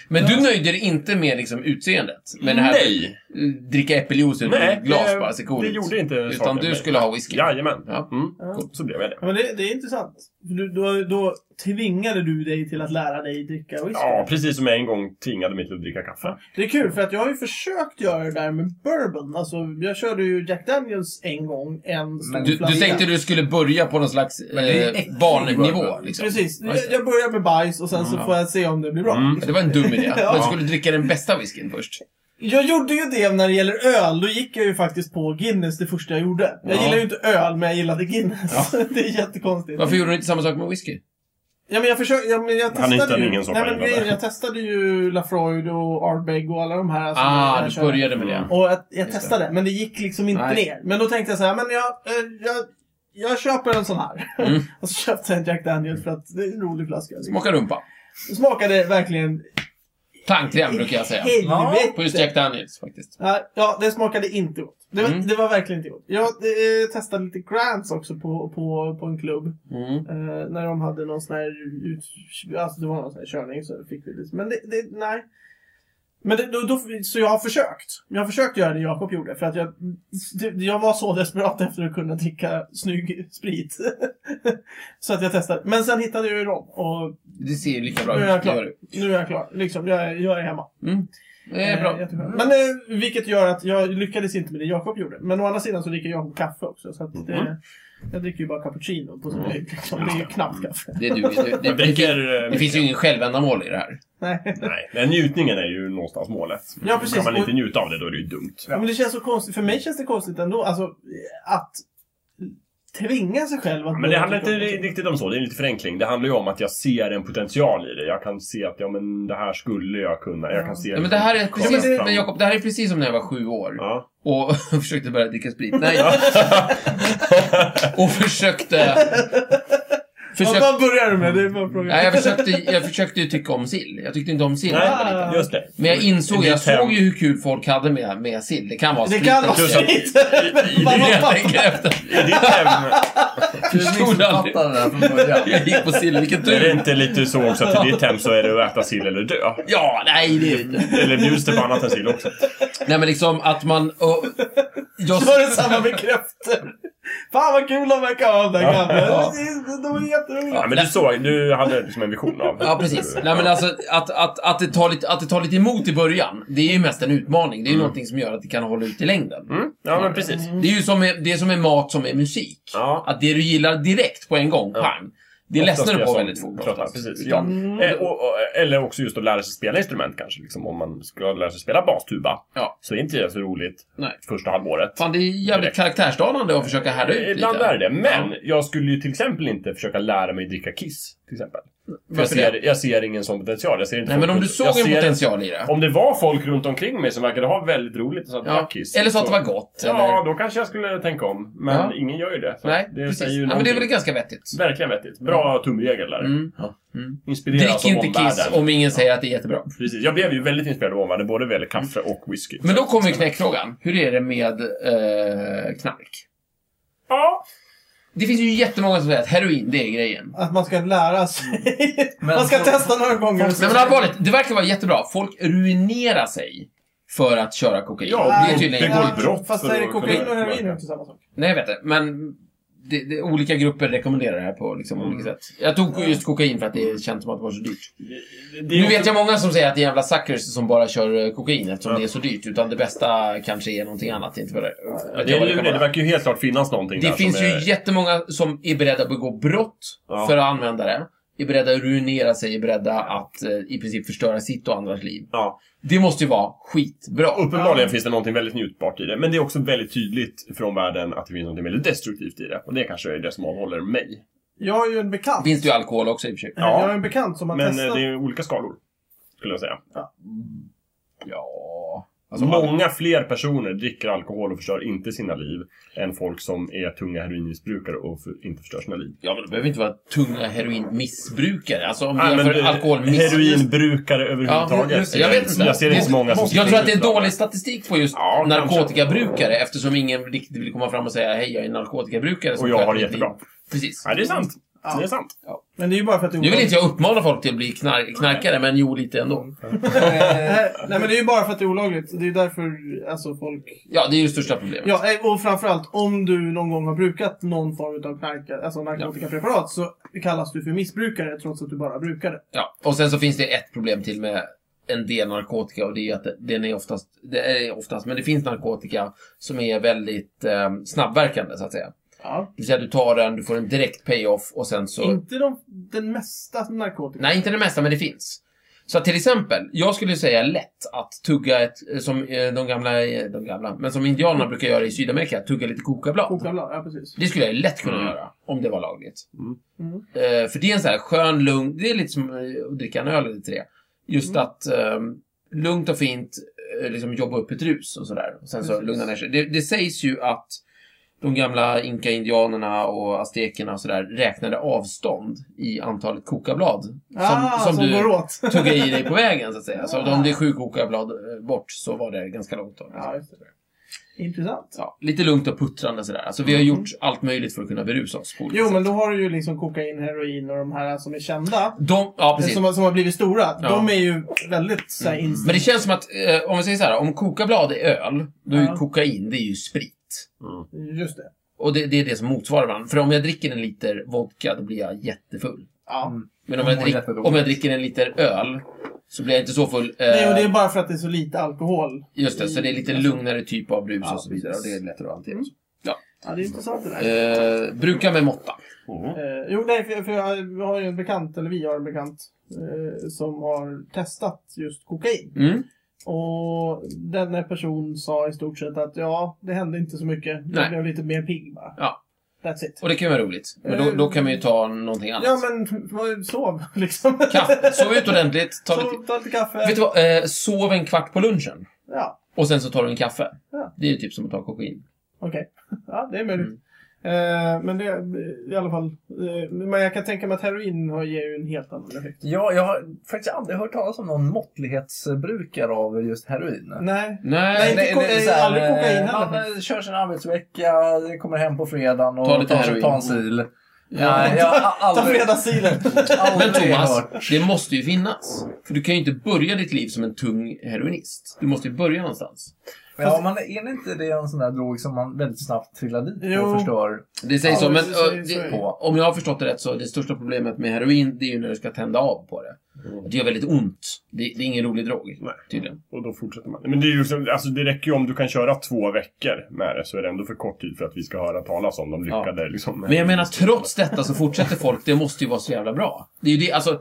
[SPEAKER 4] Men du nöjde dig inte med liksom, utseendet? Med det här
[SPEAKER 3] Nej!
[SPEAKER 4] eh, dricka äppeljuice ur
[SPEAKER 3] Nej,
[SPEAKER 4] ett glas
[SPEAKER 3] det-
[SPEAKER 4] bara, ser cool
[SPEAKER 3] Det
[SPEAKER 4] ut.
[SPEAKER 3] gjorde inte
[SPEAKER 4] Utan
[SPEAKER 3] saken
[SPEAKER 4] du
[SPEAKER 3] med.
[SPEAKER 4] skulle ha whisky?
[SPEAKER 3] Jajamän.
[SPEAKER 4] Ja.
[SPEAKER 3] Mm.
[SPEAKER 1] Ja.
[SPEAKER 3] Så blev jag det.
[SPEAKER 1] Ja, men det, det är intressant. För Du, då, då tvingade du dig till att lära dig dricka whisky.
[SPEAKER 3] Ja, precis som jag en gång tvingade mig till att dricka kaffe.
[SPEAKER 1] Det är kul för att jag har ju försökt göra det där med bourbon. Alltså, jag körde ju Jack Daniels en gång, en stor
[SPEAKER 2] Men
[SPEAKER 4] Du, du
[SPEAKER 1] flaska.
[SPEAKER 4] täckte du skulle börja på någon slags
[SPEAKER 2] Men det är
[SPEAKER 4] eh,
[SPEAKER 2] äcklig
[SPEAKER 4] barnnivå?
[SPEAKER 2] bourbon.
[SPEAKER 4] Liksom.
[SPEAKER 1] Precis.
[SPEAKER 4] Ja, just
[SPEAKER 1] Jag,
[SPEAKER 4] det.
[SPEAKER 1] jag börjar med bajs och sen så
[SPEAKER 4] Mm.
[SPEAKER 1] får jag se om det blir bra.
[SPEAKER 3] Mm.
[SPEAKER 4] Det var en dum idé.
[SPEAKER 1] Ja.
[SPEAKER 4] Man skulle dricka den bästa whiskyn först.
[SPEAKER 1] Jag gjorde ju det när det gäller öl. Då gick jag ju faktiskt på Guinness det första jag gjorde. Jag
[SPEAKER 4] Ja.
[SPEAKER 1] gillar ju inte öl, men jag gillade Guinness. det är jättekonstigt.
[SPEAKER 4] Varför gjorde du inte samma sak med whisky?
[SPEAKER 1] Ja, men jag försökte... Ja, men jag
[SPEAKER 3] Han är
[SPEAKER 1] testade
[SPEAKER 3] inte
[SPEAKER 1] ju...
[SPEAKER 3] en ingen soppa
[SPEAKER 1] Nej, men
[SPEAKER 3] heller.
[SPEAKER 1] grejen, jag testade ju Lafroid och Ardbeg och alla de här. alltså,
[SPEAKER 4] ah,
[SPEAKER 1] jag
[SPEAKER 4] du
[SPEAKER 1] körde.
[SPEAKER 4] började med det.
[SPEAKER 1] Och jag, jag
[SPEAKER 4] Just det.
[SPEAKER 1] testade, men det gick liksom inte
[SPEAKER 4] Nej.
[SPEAKER 1] ner. Men då tänkte jag så här, men jag... eh, jag jag köper en sån här.
[SPEAKER 4] Mm.
[SPEAKER 1] och så köpte jag en Jack Daniels för att det är en rolig flaska. liksom.
[SPEAKER 4] Smaka rumpa.
[SPEAKER 1] Det smakade verkligen...
[SPEAKER 4] Tandkräm brukar jag säga.
[SPEAKER 1] Helvete!
[SPEAKER 4] På just Jack Daniels faktiskt.
[SPEAKER 1] Ja, ja, det smakade inte gott. Det var,
[SPEAKER 4] Mm.
[SPEAKER 1] det var verkligen inte gott. Jag eh, testade lite Grants också på, på, på en klubb.
[SPEAKER 4] Mm.
[SPEAKER 1] Eh, när de hade någon sån här ut... Alltså det var någon sån här körning så fick vi lite... Men det, det nej. Men det, då, då, så jag har försökt. Jag har försökt göra det Jakob gjorde. För att jag, det- jag var så desperat efter att kunna dricka snygg sprit. så att jag testade. Men sen hittade jag ju dem. Och
[SPEAKER 4] Det ser ju lika bra
[SPEAKER 1] nu är jag
[SPEAKER 4] ut.
[SPEAKER 1] klar. Nu är jag klar. Liksom, jag, är- jag är hemma.
[SPEAKER 4] Mm. Det är
[SPEAKER 1] Eh,
[SPEAKER 4] bra.
[SPEAKER 1] jättebra. Men eh, vilket gör att jag lyckades inte med det Jakob gjorde. Men å andra sidan så dricker Jakob kaffe också. Så att, eh, jag dricker ju bara cappuccino på sin höjd. Liksom. Det är ju knappt kaffe.
[SPEAKER 4] Det, du, det, det,
[SPEAKER 3] Jag dricker...
[SPEAKER 4] det,
[SPEAKER 3] eh,
[SPEAKER 4] det finns ju ingen självändamål i det här.
[SPEAKER 1] Nej.
[SPEAKER 3] Nej, men njutningen är ju någonstans målet.
[SPEAKER 1] Ja, precis.
[SPEAKER 3] Kan man inte
[SPEAKER 1] Och-
[SPEAKER 3] njuta av det, då är det ju dumt.
[SPEAKER 1] Men det känns så konstigt. För mig känns det konstigt ändå. Alltså, eh, att tvinga sig själv att...
[SPEAKER 3] Men det
[SPEAKER 1] börja
[SPEAKER 3] handlar
[SPEAKER 1] dricka
[SPEAKER 3] inte
[SPEAKER 1] cappuccino.
[SPEAKER 3] riktigt om så, det är lite förenkling. Det handlar ju om att jag ser en potential i det. Jag kan se att ja, men det här skulle jag kunna. Jag kan se...
[SPEAKER 4] Ja, men det här är precis,
[SPEAKER 3] Ja.
[SPEAKER 4] men Jakob, det här är precis som när jag var sju år
[SPEAKER 3] Ja.
[SPEAKER 4] och försökte börja dricka sprit. Nej. och försökte...
[SPEAKER 1] Vad,
[SPEAKER 4] försökte
[SPEAKER 1] vad börjar du med? Det är bara frågan.
[SPEAKER 4] nej, jag försökte, jag försökte ju tycka om sill. Jag tyckte inte om sill. när jag var liten.
[SPEAKER 1] Ah.
[SPEAKER 3] Nej, just det.
[SPEAKER 4] Men jag insåg,
[SPEAKER 3] Det är
[SPEAKER 4] jag
[SPEAKER 3] fem.
[SPEAKER 4] såg ju hur kul folk hade med, med sill. Det kan vara
[SPEAKER 1] Det
[SPEAKER 4] sprit
[SPEAKER 1] kan vara
[SPEAKER 4] också.
[SPEAKER 3] Tusen.
[SPEAKER 1] sprit.
[SPEAKER 3] I- i-
[SPEAKER 1] Mamma,
[SPEAKER 4] Det jag
[SPEAKER 1] pappa.
[SPEAKER 4] tänker efter.
[SPEAKER 3] I ditt hem
[SPEAKER 2] Du
[SPEAKER 4] Förstod aldrig.
[SPEAKER 2] missuppfattade det här från början.
[SPEAKER 4] Jag gick på sill, vilken
[SPEAKER 3] Är det
[SPEAKER 4] tur.
[SPEAKER 3] inte lite så också att i ditt hem så är det att äta sill eller dö?
[SPEAKER 4] Ja, nej det är inte.
[SPEAKER 3] Eller bjuds det på annat än sill också?
[SPEAKER 4] Nej men liksom att man... Och, jag,
[SPEAKER 1] Så är det samma med kräftor. Fan vad kul de verkar ha de där gamla.
[SPEAKER 4] Ja.
[SPEAKER 1] Det är- De är jätteroliga.
[SPEAKER 3] Ja, men du såg, du hade liksom en vision av...
[SPEAKER 4] Ja, precis. Nej, men alltså, att, att, att, det tar lite, att det tar lite emot i början, det är ju mest en utmaning. Det är ju någonting som gör att det kan hålla ut i längden.
[SPEAKER 3] Mm? Ja, men precis.
[SPEAKER 4] Det är ju som med, det är som med mat som är musik.
[SPEAKER 3] Ja.
[SPEAKER 4] Att det du gillar direkt på en gång,
[SPEAKER 3] Ja.
[SPEAKER 4] pang, det ledsnar du på väldigt fort.
[SPEAKER 3] Tröttnar,
[SPEAKER 4] oftast.
[SPEAKER 3] precis. Ja.
[SPEAKER 1] Mm.
[SPEAKER 3] Eh, och, och, eller också just att lära sig spela instrument kanske. Liksom, om man ska lära sig spela bastuba
[SPEAKER 4] Ja.
[SPEAKER 3] så är inte det så roligt
[SPEAKER 4] Nej.
[SPEAKER 3] första halvåret.
[SPEAKER 4] Fan, det är jävligt
[SPEAKER 3] Direkt.
[SPEAKER 4] karaktärsdanande att försöka härda ut
[SPEAKER 3] Ibland
[SPEAKER 4] lite.
[SPEAKER 3] är det Men jag skulle ju till exempel inte försöka lära mig dricka Kiss. Till exempel. För jag
[SPEAKER 4] Varför
[SPEAKER 3] ser, jag ser ingen sån potential. Jag ser inte
[SPEAKER 4] Nej, men
[SPEAKER 3] folk
[SPEAKER 4] om du
[SPEAKER 3] runt-
[SPEAKER 4] såg
[SPEAKER 3] jag
[SPEAKER 4] en
[SPEAKER 3] ser-
[SPEAKER 4] potential i det.
[SPEAKER 3] Om det var folk runt omkring mig som verkade ha väldigt roligt så att
[SPEAKER 4] Ja.
[SPEAKER 3] drack Kiss.
[SPEAKER 4] Eller så att det var gott.
[SPEAKER 3] Ja,
[SPEAKER 4] Eller...
[SPEAKER 3] då kanske jag skulle tänka om. Men
[SPEAKER 4] Ja.
[SPEAKER 3] ingen gör ju det. Så
[SPEAKER 4] Nej,
[SPEAKER 3] det
[SPEAKER 4] precis.
[SPEAKER 3] säger ju
[SPEAKER 4] Ja, men det är
[SPEAKER 3] någonting.
[SPEAKER 4] väl ganska vettigt.
[SPEAKER 3] Verkligen vettigt. Bra tumregel där.
[SPEAKER 4] Mm.
[SPEAKER 3] Ja.
[SPEAKER 4] Mm.
[SPEAKER 3] Inspireras
[SPEAKER 4] Drick
[SPEAKER 3] av
[SPEAKER 4] inte Kiss
[SPEAKER 3] alltså omvärlden.
[SPEAKER 4] om ingen säger att det är jättebra.
[SPEAKER 3] Precis. Jag blev ju väldigt inspirerad av omvärlden, både vad gäller kaffe och whisky.
[SPEAKER 4] Men då kommer ju knäckfrågan. Hur är det med eh, knark?
[SPEAKER 3] Ja.
[SPEAKER 4] Det finns ju jättemånga som säger att heroin, det är grejen.
[SPEAKER 1] Att man ska lära sig.
[SPEAKER 2] Men
[SPEAKER 1] man ska
[SPEAKER 2] så-
[SPEAKER 1] testa några gånger.
[SPEAKER 4] Nej men allvarligt, det verkar vara jättebra. Folk ruinerar sig för att köra kokain.
[SPEAKER 3] Ja,
[SPEAKER 4] det är tydligen...
[SPEAKER 3] begår brott
[SPEAKER 1] Fast
[SPEAKER 3] för
[SPEAKER 1] är det
[SPEAKER 3] att
[SPEAKER 1] kokain och
[SPEAKER 3] kunna-
[SPEAKER 1] heroin är inte samma sak.
[SPEAKER 4] Nej, jag vet det. Men det, det, olika grupper rekommenderar det här på liksom,
[SPEAKER 3] Mm.
[SPEAKER 4] olika sätt. Jag tog just kokain för att det känns som att det var så dyrt.
[SPEAKER 3] Det är
[SPEAKER 4] Nu vet
[SPEAKER 3] också-
[SPEAKER 4] jag många som säger att det är jävla suckers som bara kör eh, kokain eftersom det är så dyrt. Utan det bästa kanske är någonting annat. Inte vad det, att
[SPEAKER 3] Det,
[SPEAKER 4] jag
[SPEAKER 3] är
[SPEAKER 4] vad
[SPEAKER 3] ju
[SPEAKER 4] kan
[SPEAKER 3] det, det
[SPEAKER 4] vara.
[SPEAKER 3] verkar ju helt klart finnas någonting där
[SPEAKER 4] det finns
[SPEAKER 3] som
[SPEAKER 4] ju
[SPEAKER 3] är...
[SPEAKER 4] jättemånga som är beredda att begå brott
[SPEAKER 3] Ja.
[SPEAKER 4] för att använda det. Är beredda att ruinera sig, är beredda att eh, i princip förstöra sitt och andras liv.
[SPEAKER 3] Ja.
[SPEAKER 4] Det måste ju vara skitbra.
[SPEAKER 3] Uppenbarligen finns det någonting väldigt njutbart i det, men det är också väldigt tydligt från världen att det finns någonting väldigt destruktivt i det. Och det kanske är det som avhåller mig.
[SPEAKER 1] Jag har ju en bekant.
[SPEAKER 4] Finns det ju alkohol också i och för sig.
[SPEAKER 1] Eh,
[SPEAKER 3] Ja.
[SPEAKER 1] Jag har en bekant som har
[SPEAKER 3] Men eh,
[SPEAKER 1] testat.
[SPEAKER 3] det är olika skalor, skulle jag säga.
[SPEAKER 4] Ja...
[SPEAKER 3] Alltså,
[SPEAKER 4] Många-
[SPEAKER 3] många fler personer dricker alkohol och förstör inte sina liv än folk som är tunga heroinmissbrukare och för, inte förstör sina liv.
[SPEAKER 4] Ja, men det behöver inte vara tunga heroinmissbrukare. Alltså om vi
[SPEAKER 3] Nej, men
[SPEAKER 4] jämför
[SPEAKER 3] det-
[SPEAKER 4] alkoholmiss...
[SPEAKER 3] Heroinbrukare
[SPEAKER 4] Ja,
[SPEAKER 3] överhuvudtaget.
[SPEAKER 4] just det. Jag vet inte.
[SPEAKER 3] jag ser inte så många som
[SPEAKER 4] Jag tror att det är
[SPEAKER 3] sitter
[SPEAKER 4] dålig statistik på just
[SPEAKER 3] Ja, kanske.
[SPEAKER 4] narkotikabrukare eftersom ingen riktigt vill komma fram och säga hej, jag är narkotikabrukare. som
[SPEAKER 3] Och jag har
[SPEAKER 4] sköter
[SPEAKER 3] det
[SPEAKER 4] mitt liv."
[SPEAKER 3] jättebra.
[SPEAKER 4] Precis.
[SPEAKER 3] Ja, det är sant.
[SPEAKER 1] Ja.
[SPEAKER 3] Det är sant.
[SPEAKER 1] Men det är ju bara för att det är
[SPEAKER 4] Nu vill
[SPEAKER 1] olagligt.
[SPEAKER 4] inte jag uppmana folk till att bli knar- knarkare, men jo, lite ändå.
[SPEAKER 2] Eh,
[SPEAKER 1] Nej, nej, men det är ju bara för att det är olagligt. Det är ju därför alltså, folk...
[SPEAKER 4] Ja, det är ju det största problemet.
[SPEAKER 1] Ja, eh, och framförallt om du någon gång har brukat någon form av knark, alltså narkotikapreparat så kallas du för missbrukare trots att du bara brukar det.
[SPEAKER 4] Ja. Och sen så finns det ett problem till med en del narkotika och det är att det- den är oftast, det är oftast, men det finns narkotika som är väldigt eh, snabbverkande så att säga.
[SPEAKER 1] Ja.
[SPEAKER 4] Det vill säga du tar den, du får en direkt payoff och sen så...
[SPEAKER 1] Inte de, den mesta narkotika.
[SPEAKER 4] Nej, inte det mesta, men det finns. Så att till exempel, jag skulle säga lätt att tugga ett, eh, som eh, de gamla, eh, de gamla, men som indianerna brukar göra i Sydamerika, tugga lite kokablad.
[SPEAKER 1] Kokablad, ja precis.
[SPEAKER 4] Det skulle jag lätt kunna
[SPEAKER 3] Mm.
[SPEAKER 4] göra, om det var lagligt.
[SPEAKER 3] Mm.
[SPEAKER 1] Mm.
[SPEAKER 4] Eh, för det är en sån här skön, lugn, det är lite som eh, att dricka en öl eller tre. Just
[SPEAKER 1] Mm.
[SPEAKER 4] att eh, lugnt och fint eh, liksom jobba upp ett rus och sådär. Och Sen så
[SPEAKER 1] Precis.
[SPEAKER 4] lugna ner sig. Det, det sägs ju att de gamla inka-indianerna och aztekerna och sådär räknade avstånd i antalet kokablad. Som,
[SPEAKER 1] ah, som,
[SPEAKER 4] du
[SPEAKER 1] går åt. Ah.
[SPEAKER 4] tugga i dig på vägen så att säga. Så om det är sju kokablad eh, bort så var det ganska långt. Då.
[SPEAKER 1] ja, just det. Intressant.
[SPEAKER 4] Ja, lite lugnt och puttrande sådär. Alltså vi har gjort allt möjligt för att kunna berusa oss på olika
[SPEAKER 1] Mm. Jo,
[SPEAKER 4] sätt.
[SPEAKER 1] men då har du ju liksom kokain, heroin och de här som är kända.
[SPEAKER 4] De, ja, precis.
[SPEAKER 1] Som, har- som har blivit stora.
[SPEAKER 4] Ja. Mm.
[SPEAKER 1] De är ju väldigt så här, inställda.
[SPEAKER 4] Men det känns som att, eh, om vi säger så här, om kokablad är öl, då är ju
[SPEAKER 1] Ja.
[SPEAKER 4] kokain, det är ju sprit.
[SPEAKER 1] Just det.
[SPEAKER 4] Och det, det är det som motsvarar varandra. För om jag dricker en liter vodka, då blir jag jättefull.
[SPEAKER 1] Ja.
[SPEAKER 4] Men om
[SPEAKER 2] Jag
[SPEAKER 4] jag,
[SPEAKER 1] Mm,
[SPEAKER 2] mår
[SPEAKER 4] drick,
[SPEAKER 2] jättedåligt.
[SPEAKER 4] om jag dricker en liter öl, så blir jag inte så full. Eh,
[SPEAKER 1] Nej, och det är bara för att det är så lite alkohol.
[SPEAKER 4] Just det, så det är lite lugnare typ av brus
[SPEAKER 1] Ja,
[SPEAKER 4] och så vidare. Och det är lättare att hantera.
[SPEAKER 1] Ja, det är intressant det där.
[SPEAKER 4] Eh, bruka med måtta.
[SPEAKER 3] Mm.
[SPEAKER 1] Eh, jo, nej, för, för jag vi har ju en bekant, eller vi har en bekant, eh, som har testat just kokain.
[SPEAKER 4] Mm.
[SPEAKER 1] Och denna person sa i stort sett att ja, det hände inte så mycket.
[SPEAKER 4] Nej.
[SPEAKER 1] Jag blev lite mer pigg bara.
[SPEAKER 4] Ja.
[SPEAKER 1] That's it.
[SPEAKER 4] Och det kan ju vara roligt. Men då, då kan man ju ta någonting annat.
[SPEAKER 1] Ja, men vad- sov liksom.
[SPEAKER 4] Kaffe. Sov ut ordentligt. Ta lite...
[SPEAKER 1] Sov, ta lite kaffe.
[SPEAKER 4] Vet du vad? Eh, sov en kvart på lunchen.
[SPEAKER 1] Ja,
[SPEAKER 4] Och sen så tar du en kaffe.
[SPEAKER 1] Ja.
[SPEAKER 4] Det är ju typ som att ta kokain.
[SPEAKER 1] okej. Ja, det är möjligt. Eh, men det eh, i alla fall. Eh, men jag kan tänka mig att heroin har, ger ju en helt annan effekt.
[SPEAKER 2] ja, jag har faktiskt aldrig hört talas om någon måttlighetsbrukare av just heroin.
[SPEAKER 1] Nej.
[SPEAKER 4] Nej,
[SPEAKER 1] inte ko-
[SPEAKER 2] är så här,
[SPEAKER 1] aldrig kokain
[SPEAKER 2] eh,
[SPEAKER 1] heller.
[SPEAKER 2] Man eh, kör sin arbetsvecka, kommer hem på fredagen och
[SPEAKER 4] Ta lite
[SPEAKER 2] tar, sig-
[SPEAKER 4] heroin.
[SPEAKER 2] tar en sil. Nej, jag har
[SPEAKER 1] Ta
[SPEAKER 2] aldrig,
[SPEAKER 1] fredagssilen.
[SPEAKER 2] aldrig
[SPEAKER 4] Men Thomas,
[SPEAKER 2] hört.
[SPEAKER 4] det måste ju finnas. För du kan ju inte börja ditt liv som en tung heroinist. Du måste ju börja någonstans.
[SPEAKER 2] Ja, men är inte det en sån där drog som man väldigt snabbt trillar dit
[SPEAKER 1] Jo.
[SPEAKER 2] och förstör?
[SPEAKER 4] Det sägs
[SPEAKER 1] Ja,
[SPEAKER 4] så, men
[SPEAKER 1] det- så-
[SPEAKER 4] eh,
[SPEAKER 1] så är det.
[SPEAKER 4] det, om jag har förstått det rätt så är det största problemet med heroin, det är ju när du ska tända av på det. Det gör väldigt ont. Det, det är ingen rolig drog,
[SPEAKER 3] Nej.
[SPEAKER 4] tydligen.
[SPEAKER 3] Och då fortsätter man. Men det, är ju, så- alltså, det räcker ju om du kan köra två veckor med det, så är det ändå för kort tid för att vi ska höra talas om de lyckade. Liksom,
[SPEAKER 4] Men jag menar, trots detta så fortsätter folk. Det måste ju vara så jävla bra. Det är ju det, alltså...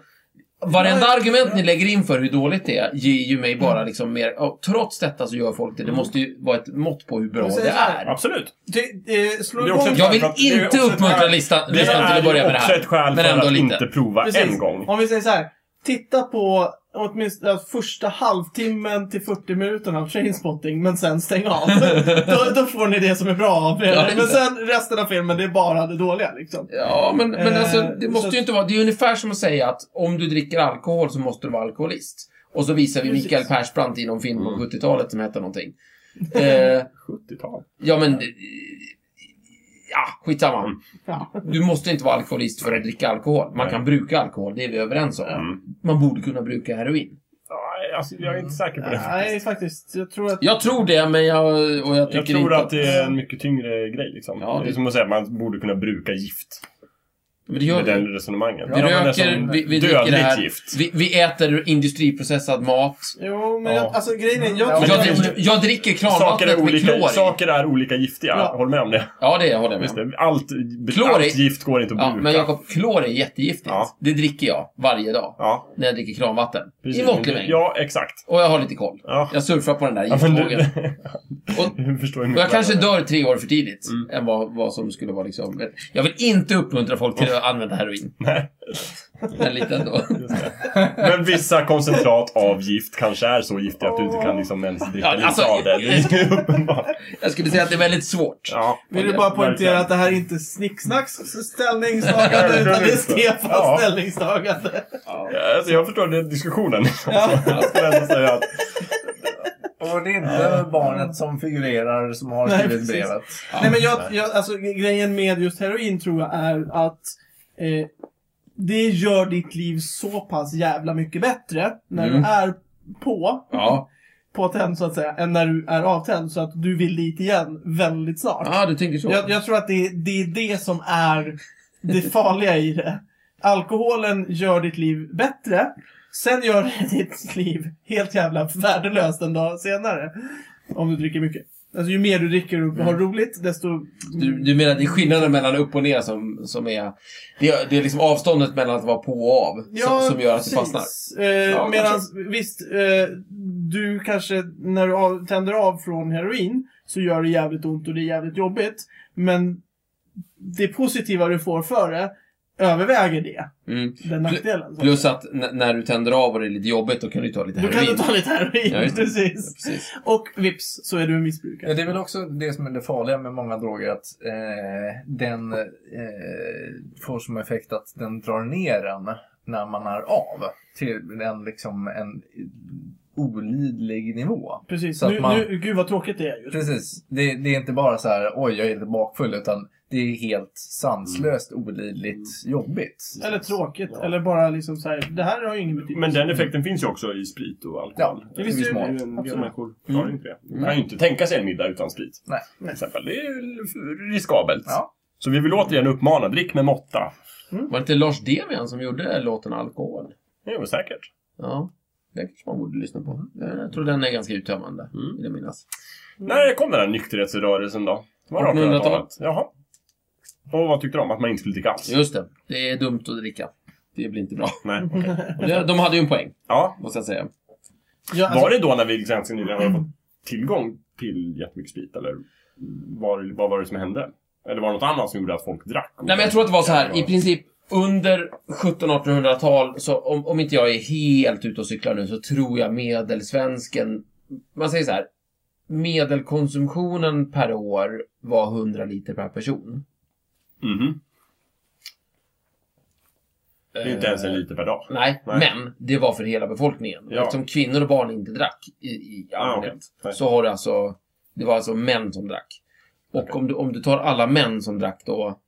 [SPEAKER 4] Varenda argument ni lägger in för hur dåligt det är ger ju mig bara liksom mer... ja, trots detta så gör folk det. Det måste ju vara ett mått på hur bra
[SPEAKER 1] Men säg
[SPEAKER 4] det
[SPEAKER 1] så här.
[SPEAKER 4] är.
[SPEAKER 3] Absolut.
[SPEAKER 1] Det, eh, slår
[SPEAKER 3] Det är
[SPEAKER 1] igång
[SPEAKER 3] också ett
[SPEAKER 4] Jag vill
[SPEAKER 3] För att det är
[SPEAKER 4] inte
[SPEAKER 3] också ett
[SPEAKER 4] uppmuntra
[SPEAKER 3] skäl-
[SPEAKER 4] listan,
[SPEAKER 3] Det
[SPEAKER 4] listan till
[SPEAKER 3] är
[SPEAKER 4] att börja
[SPEAKER 3] ju
[SPEAKER 4] med det
[SPEAKER 3] också ett
[SPEAKER 4] här.
[SPEAKER 3] skäl
[SPEAKER 4] Men
[SPEAKER 3] för
[SPEAKER 4] ändå
[SPEAKER 3] att
[SPEAKER 4] lite.
[SPEAKER 3] inte prova
[SPEAKER 1] Precis.
[SPEAKER 3] en gång.
[SPEAKER 1] Om vi säger så här. titta på åtminstone ja, första halvtimmen till 40 minuterna av Trainspotting, men sen stäng av. då, då får ni det som är bra av
[SPEAKER 4] Ja,
[SPEAKER 1] er.
[SPEAKER 4] just
[SPEAKER 1] Men
[SPEAKER 4] det.
[SPEAKER 1] sen resten av filmen, det är bara det dåliga liksom.
[SPEAKER 4] Ja, men, men
[SPEAKER 1] Eh,
[SPEAKER 4] alltså, det måste
[SPEAKER 1] så
[SPEAKER 4] ju inte vara... Det är ungefär som att säga att om du dricker alkohol så måste du vara alkoholist. Och så visar vi
[SPEAKER 1] Precis.
[SPEAKER 4] Mikael Persbrandt i någon film på
[SPEAKER 3] Mm.
[SPEAKER 4] 70-talet som hette någonting. Eh,
[SPEAKER 3] 70-tal.
[SPEAKER 4] ja, men... eh, Ja, skitsamma.
[SPEAKER 3] Mm.
[SPEAKER 1] Ja.
[SPEAKER 4] Du måste inte vara alkoholist för att dricka alkohol. Man
[SPEAKER 3] Nej.
[SPEAKER 4] kan bruka alkohol, det är vi överens om.
[SPEAKER 3] Mm.
[SPEAKER 4] Man borde kunna bruka heroin.
[SPEAKER 3] Nej, Alltså, jag är inte säker på det.
[SPEAKER 1] Nej, faktiskt. Jag tror att...
[SPEAKER 4] Jag tror det, men jag... Och jag tycker
[SPEAKER 3] Jag tror
[SPEAKER 4] inte
[SPEAKER 3] att det är en mycket tyngre grej liksom.
[SPEAKER 4] Ja,
[SPEAKER 3] det är
[SPEAKER 4] det-
[SPEAKER 3] som att säga att man borde kunna bruka gift.
[SPEAKER 4] Men det gör
[SPEAKER 3] Med
[SPEAKER 4] vi.
[SPEAKER 3] den resonemangen.
[SPEAKER 4] Vi
[SPEAKER 3] Ja, men
[SPEAKER 4] röker,
[SPEAKER 3] nästan
[SPEAKER 4] vi, vi dricker det
[SPEAKER 3] Dödligt
[SPEAKER 4] här.
[SPEAKER 3] gift.
[SPEAKER 4] Vi, vi äter industriprocessad mat.
[SPEAKER 1] Jo, men
[SPEAKER 3] Ja.
[SPEAKER 1] jag, alltså grejen är...
[SPEAKER 5] Ja,
[SPEAKER 1] Jag,
[SPEAKER 4] Jag,
[SPEAKER 1] tror
[SPEAKER 3] men det-
[SPEAKER 4] dricker- jag dricker
[SPEAKER 3] Saker
[SPEAKER 4] kranvattnet
[SPEAKER 3] är,
[SPEAKER 4] med klor
[SPEAKER 3] olika,
[SPEAKER 4] i.
[SPEAKER 3] saker är olika giftiga,
[SPEAKER 1] Ja.
[SPEAKER 3] håll med om det.
[SPEAKER 4] Ja, det håller jag
[SPEAKER 3] Just
[SPEAKER 4] med om.
[SPEAKER 3] det. Allt,
[SPEAKER 4] Klor
[SPEAKER 3] allt
[SPEAKER 4] är-
[SPEAKER 3] gift går inte att
[SPEAKER 4] Ja,
[SPEAKER 3] bruka.
[SPEAKER 4] men Jakob, klor är jättegiftigt.
[SPEAKER 3] Ja.
[SPEAKER 4] Det dricker jag varje dag
[SPEAKER 3] Ja,
[SPEAKER 4] när jag dricker kranvatten.
[SPEAKER 3] precis.
[SPEAKER 4] I måttlig mängd.
[SPEAKER 3] Ja, exakt.
[SPEAKER 4] Och jag har lite koll.
[SPEAKER 3] Ja.
[SPEAKER 4] Jag surfar på den där
[SPEAKER 3] Ja, men du,
[SPEAKER 4] giftvågen. Och-
[SPEAKER 3] du förstår ju
[SPEAKER 4] Och jag
[SPEAKER 3] mycket
[SPEAKER 4] kanske
[SPEAKER 3] väl.
[SPEAKER 4] dör tre år för tidigt.
[SPEAKER 3] Mm.
[SPEAKER 4] Än vad, vad som skulle vara liksom... Jag vill inte uppmuntra folk till att använda heroin.
[SPEAKER 3] Nej.
[SPEAKER 4] Men lite ändå.
[SPEAKER 3] Just det. Men vissa koncentrat av gift kanske är så giftiga att du inte kan liksom ens dricka
[SPEAKER 4] Ja,
[SPEAKER 3] lite
[SPEAKER 4] alltså-
[SPEAKER 3] av det. Det är ju uppenbart.
[SPEAKER 4] Jag skulle säga att det är väldigt svårt.
[SPEAKER 3] Ja.
[SPEAKER 1] vill du bara poängtera
[SPEAKER 3] Verkligen.
[SPEAKER 1] att det här är inte Snicksnacks ställningstagande, utan det är Stefans
[SPEAKER 3] Ja.
[SPEAKER 1] ställningstagande.
[SPEAKER 3] Ja, Alltså, jag förstår den diskussionen.
[SPEAKER 1] Ja.
[SPEAKER 3] Jag skulle ändå säga att
[SPEAKER 2] Och det är
[SPEAKER 5] inte barnet som figurerar som har
[SPEAKER 1] Nej,
[SPEAKER 5] skrivit
[SPEAKER 1] precis.
[SPEAKER 5] brevet.
[SPEAKER 1] Nej, men jag, jag, alltså, grejen med just heroin tror jag är att eh, det gör ditt liv så pass jävla mycket bättre när
[SPEAKER 4] Mm.
[SPEAKER 1] du är på,
[SPEAKER 4] Ja.
[SPEAKER 1] påtänd så att säga, än när du är avtänd. Så att du vill dit igen väldigt snart.
[SPEAKER 4] Ja, Ah, du tänker så.
[SPEAKER 1] Jag, jag tror att det, det är det som är det farliga i det. Alkoholen gör ditt liv bättre. Sen gör det ditt liv helt jävla värdelöst en dag senare. Om du dricker mycket. Alltså ju mer du dricker och har roligt, desto...
[SPEAKER 4] Mm. Du, du menar att det är skillnaden mellan upp och ner som, som är... Det, är- det är liksom avståndet mellan att vara på och av som, som gör att det fastnar.
[SPEAKER 1] Eh,
[SPEAKER 4] Ja,
[SPEAKER 1] Medan visst, eh, du kanske när du av, tänder av från heroin så gör det jävligt ont och det är jävligt jobbigt. Men det positiva du får för det överväger det.
[SPEAKER 4] Mm.
[SPEAKER 1] Den nackdelen. så.
[SPEAKER 4] Plus att n- när du tänder av och det är lite jobbigt, då kan du ta lite
[SPEAKER 1] Då kan
[SPEAKER 4] heroin.
[SPEAKER 1] du ta lite heroin,
[SPEAKER 4] Ja, just det.
[SPEAKER 1] precis.
[SPEAKER 4] Precis.
[SPEAKER 1] Och vips så är du en missbrukare.
[SPEAKER 2] Ja, det är väl också det som är det farliga med många droger att eh, den eh, får som effekt att den drar ner en när man är av till en, liksom, en olidlig nivå.
[SPEAKER 1] Precis.
[SPEAKER 2] Så att
[SPEAKER 1] Nu,
[SPEAKER 2] man-
[SPEAKER 1] nu, gud vad tråkigt det är just.
[SPEAKER 2] Precis, det, det är inte bara så här oj jag är lite bakfull utan det är helt sanslöst olidligt jobbigt.
[SPEAKER 1] Eller tråkigt.
[SPEAKER 2] Ja.
[SPEAKER 1] Eller bara liksom så här, det här har ju ingen betydelse.
[SPEAKER 3] Men den effekten finns ju också i sprit och alkohol.
[SPEAKER 2] Ja,
[SPEAKER 1] det visste
[SPEAKER 2] ju
[SPEAKER 3] ju
[SPEAKER 1] vi. Absolut.
[SPEAKER 3] människor klarar ju inte det. De Mm. kan ju inte tänka sig en middag utan sprit.
[SPEAKER 2] Nej.
[SPEAKER 1] Nej.
[SPEAKER 3] Till exempel. Det är ju riskabelt.
[SPEAKER 2] Ja.
[SPEAKER 3] Så vi vill återigen uppmana, drick med måtta.
[SPEAKER 4] Var det inte Lars Demian som gjorde låten Alkohol?
[SPEAKER 3] Det är väl säkert.
[SPEAKER 4] Ja. Den kanske man borde lyssna på. Eh, Jag tror den är ganska uttömmande,
[SPEAKER 3] Mm.
[SPEAKER 4] vill jag minnas.
[SPEAKER 3] När kom den här nykterhetsrörelsen då? Var det
[SPEAKER 4] 1800-talet?
[SPEAKER 3] 1800-talet? Jaha. Och vad tyckte de? Att man inte skulle dricka alls?
[SPEAKER 4] Just det, det är dumt att dricka. Det blir inte bra.
[SPEAKER 3] Nej, okej.
[SPEAKER 4] Och det- De hade ju en poäng,
[SPEAKER 3] Ja.
[SPEAKER 4] måste jag säga.
[SPEAKER 1] Ja, alltså,
[SPEAKER 3] Var det då när vi ganska nyligen hade fått tillgång till jättemycket sprit? Eller var, vad var det som hände? Eller var det något annat som gjorde att folk drack?
[SPEAKER 4] Nej, men jag tror att det var så här. I princip under 1700-1800-tal, så om, om inte jag är helt ute och cyklar nu, så tror jag medelsvensken... Man säger så här. Medelkonsumtionen per år var 100 liter per person.
[SPEAKER 3] Mhm. Det är inte ens en liter per dag.
[SPEAKER 4] Nej,
[SPEAKER 3] Nej.
[SPEAKER 4] men det var för hela befolkningen.
[SPEAKER 3] Ja.
[SPEAKER 4] Eftersom kvinnor och barn inte drack i, i
[SPEAKER 3] Ah,
[SPEAKER 4] allmänhet,
[SPEAKER 3] okej.
[SPEAKER 4] så har det alltså... Det var alltså män som drack. Och
[SPEAKER 3] Okej.
[SPEAKER 4] om, du, om du tar alla män som drack då,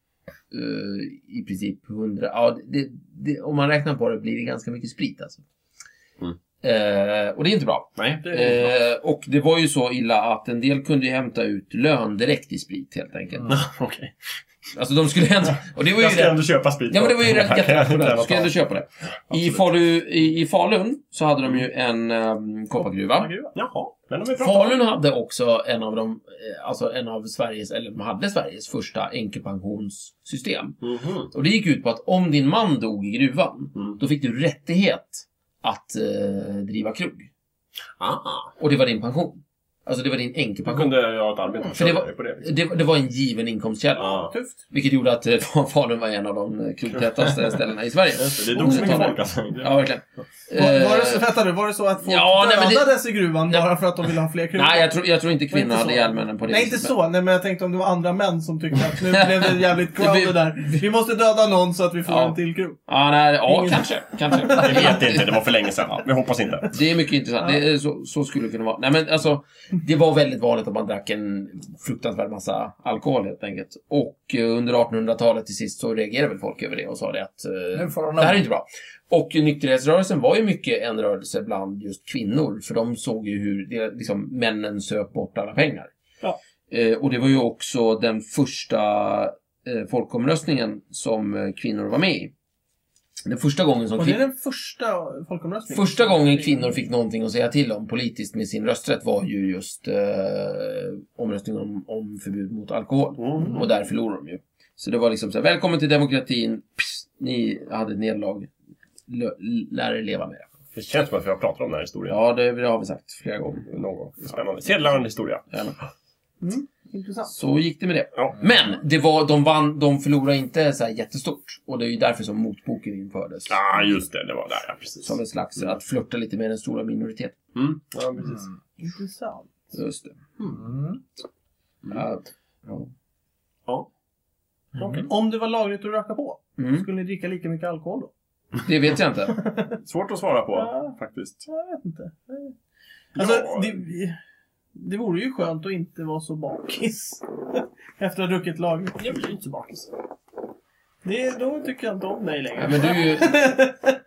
[SPEAKER 4] eh, i princip 100... Ja, det, det, om man räknar på det blir det ganska mycket sprit alltså.
[SPEAKER 3] Mm.
[SPEAKER 4] Eh, och det är inte bra.
[SPEAKER 3] Nej, det är inte
[SPEAKER 4] Eh, och det var ju så illa att en del kunde ju hämta ut lön direkt i sprit helt enkelt.
[SPEAKER 2] Mm.
[SPEAKER 3] bra. Okej.
[SPEAKER 4] Alltså de skulle hämta... Och det var ju
[SPEAKER 3] Jag ska
[SPEAKER 4] rätt-
[SPEAKER 3] ändå köpa sprit.
[SPEAKER 4] Ja, men det var ju
[SPEAKER 3] Jag kan
[SPEAKER 4] rätt jätterationellt. Du
[SPEAKER 3] inte
[SPEAKER 4] ska ändå köpa det. I,
[SPEAKER 3] Absolut.
[SPEAKER 4] Falu, i, I Falun så hade de ju en um, koppargruva.
[SPEAKER 3] Jaha, men de är bra.
[SPEAKER 4] Falun hade också en av de, eh, alltså en av Sveriges, eller de hade Sveriges första änkepensionssystem.
[SPEAKER 3] Mhm.
[SPEAKER 4] Och det gick ut på att om din man dog i gruvan,
[SPEAKER 3] Mm.
[SPEAKER 4] då fick du rättighet att eh, driva krog.
[SPEAKER 3] Ah.
[SPEAKER 4] Och det var din pension. Alltså det var din
[SPEAKER 3] Man
[SPEAKER 4] änkepension.
[SPEAKER 3] kunde jag ha ett arbete och
[SPEAKER 4] För det
[SPEAKER 3] försörja
[SPEAKER 4] var-
[SPEAKER 3] mig på det. Liksom.
[SPEAKER 4] Det, det var en given inkomstkälla.
[SPEAKER 3] Ja.
[SPEAKER 1] Tufft.
[SPEAKER 4] Vilket gjorde att eh, Falun var en av de krogtätaste ställena i Sverige.
[SPEAKER 3] Just det, det drog så mycket folk alltså.
[SPEAKER 4] Ja, verkligen.
[SPEAKER 1] Var, var, det så,
[SPEAKER 4] Eh,
[SPEAKER 1] vänta nu, var det så att folk
[SPEAKER 4] Ja, nej, men det-
[SPEAKER 1] dödades i gruvan
[SPEAKER 4] Nej.
[SPEAKER 1] bara för att de ville ha fler krukor?
[SPEAKER 4] Nej, jag tror, jag tror inte
[SPEAKER 1] Var det
[SPEAKER 4] kvinnor
[SPEAKER 1] inte
[SPEAKER 4] hade
[SPEAKER 1] så?
[SPEAKER 4] ihjäl männen på det
[SPEAKER 1] Nej, inte
[SPEAKER 4] viset,
[SPEAKER 1] så. Nej, men jag tänkte om det var andra män som tyckte att nu blev det jävligt crowded där. Vi måste döda någon så att vi får
[SPEAKER 4] Ja.
[SPEAKER 1] en till grupp.
[SPEAKER 4] men- Ja, nej, ja
[SPEAKER 1] Ingen-
[SPEAKER 4] kanske. kanske.
[SPEAKER 3] Jag vet inte, det var för länge sedan. Vi hoppas inte.
[SPEAKER 4] Det är mycket intressant. Det är, så, så skulle det kunna vara. Nej, men alltså, det var väldigt vanligt att man drack en fruktansvärd massa alkohol helt enkelt. Och eh, under 1800-talet till sist så reagerade väl folk över det och sa det att eh,
[SPEAKER 2] Nu får de
[SPEAKER 4] det här är inte bra. Och nykterhetsrörelsen var ju mycket en rörelse bland just kvinnor. För de såg ju hur det, liksom, männen söp bort alla pengar.
[SPEAKER 1] Ja.
[SPEAKER 4] Eh, och det var ju också den första eh, folkomröstningen som eh, kvinnor var med i. Den första gången som
[SPEAKER 1] Och det är
[SPEAKER 4] kvin-
[SPEAKER 1] den första folkomröstningen.
[SPEAKER 4] Första gången kvinnor fick någonting att säga till om politiskt med sin rösträtt var ju just eh, omröstningen om, om förbud mot alkohol.
[SPEAKER 3] Mm.
[SPEAKER 4] Och där förlorade de ju. Så det var liksom så här, välkommen till demokratin, Pss, ni hade ett nederlag, Lö- lär er leva med det.
[SPEAKER 3] Det känns som att vi har pratat om den här historien.
[SPEAKER 4] Ja, det, det har vi sagt flera gånger.
[SPEAKER 3] Någon gång. Spännande. Sedelärande historia.
[SPEAKER 4] Gärna.
[SPEAKER 1] Mm, Intressant.
[SPEAKER 4] Så gick det med det.
[SPEAKER 3] Ja.
[SPEAKER 4] Men det var, de, vann, de förlorade inte så här jättestort. Och det är ju därför som motboken infördes.
[SPEAKER 3] Ja, ah, just det. Det var där, ja. Precis.
[SPEAKER 4] Som en slags, att flörta lite med den stora minoriteten.
[SPEAKER 3] Mm. Ja, precis.
[SPEAKER 1] Intressant.
[SPEAKER 4] Just det.
[SPEAKER 2] Mm.
[SPEAKER 4] Ja.
[SPEAKER 1] Okej. Om det var lagligt att röka på,
[SPEAKER 4] Mm.
[SPEAKER 1] skulle ni dricka lika mycket alkohol då?
[SPEAKER 4] Det vet jag inte.
[SPEAKER 3] Mm. Svårt att svara på,
[SPEAKER 1] Ja.
[SPEAKER 3] faktiskt.
[SPEAKER 1] Jag vet inte. Alltså,
[SPEAKER 3] Ja.
[SPEAKER 1] det, det vore ju skönt att inte vara så bakis. Efter att ha druckit lagligt. Jag blir inte så bakis. Det, då tycker jag inte om dig längre.
[SPEAKER 4] Ja, men du är ju,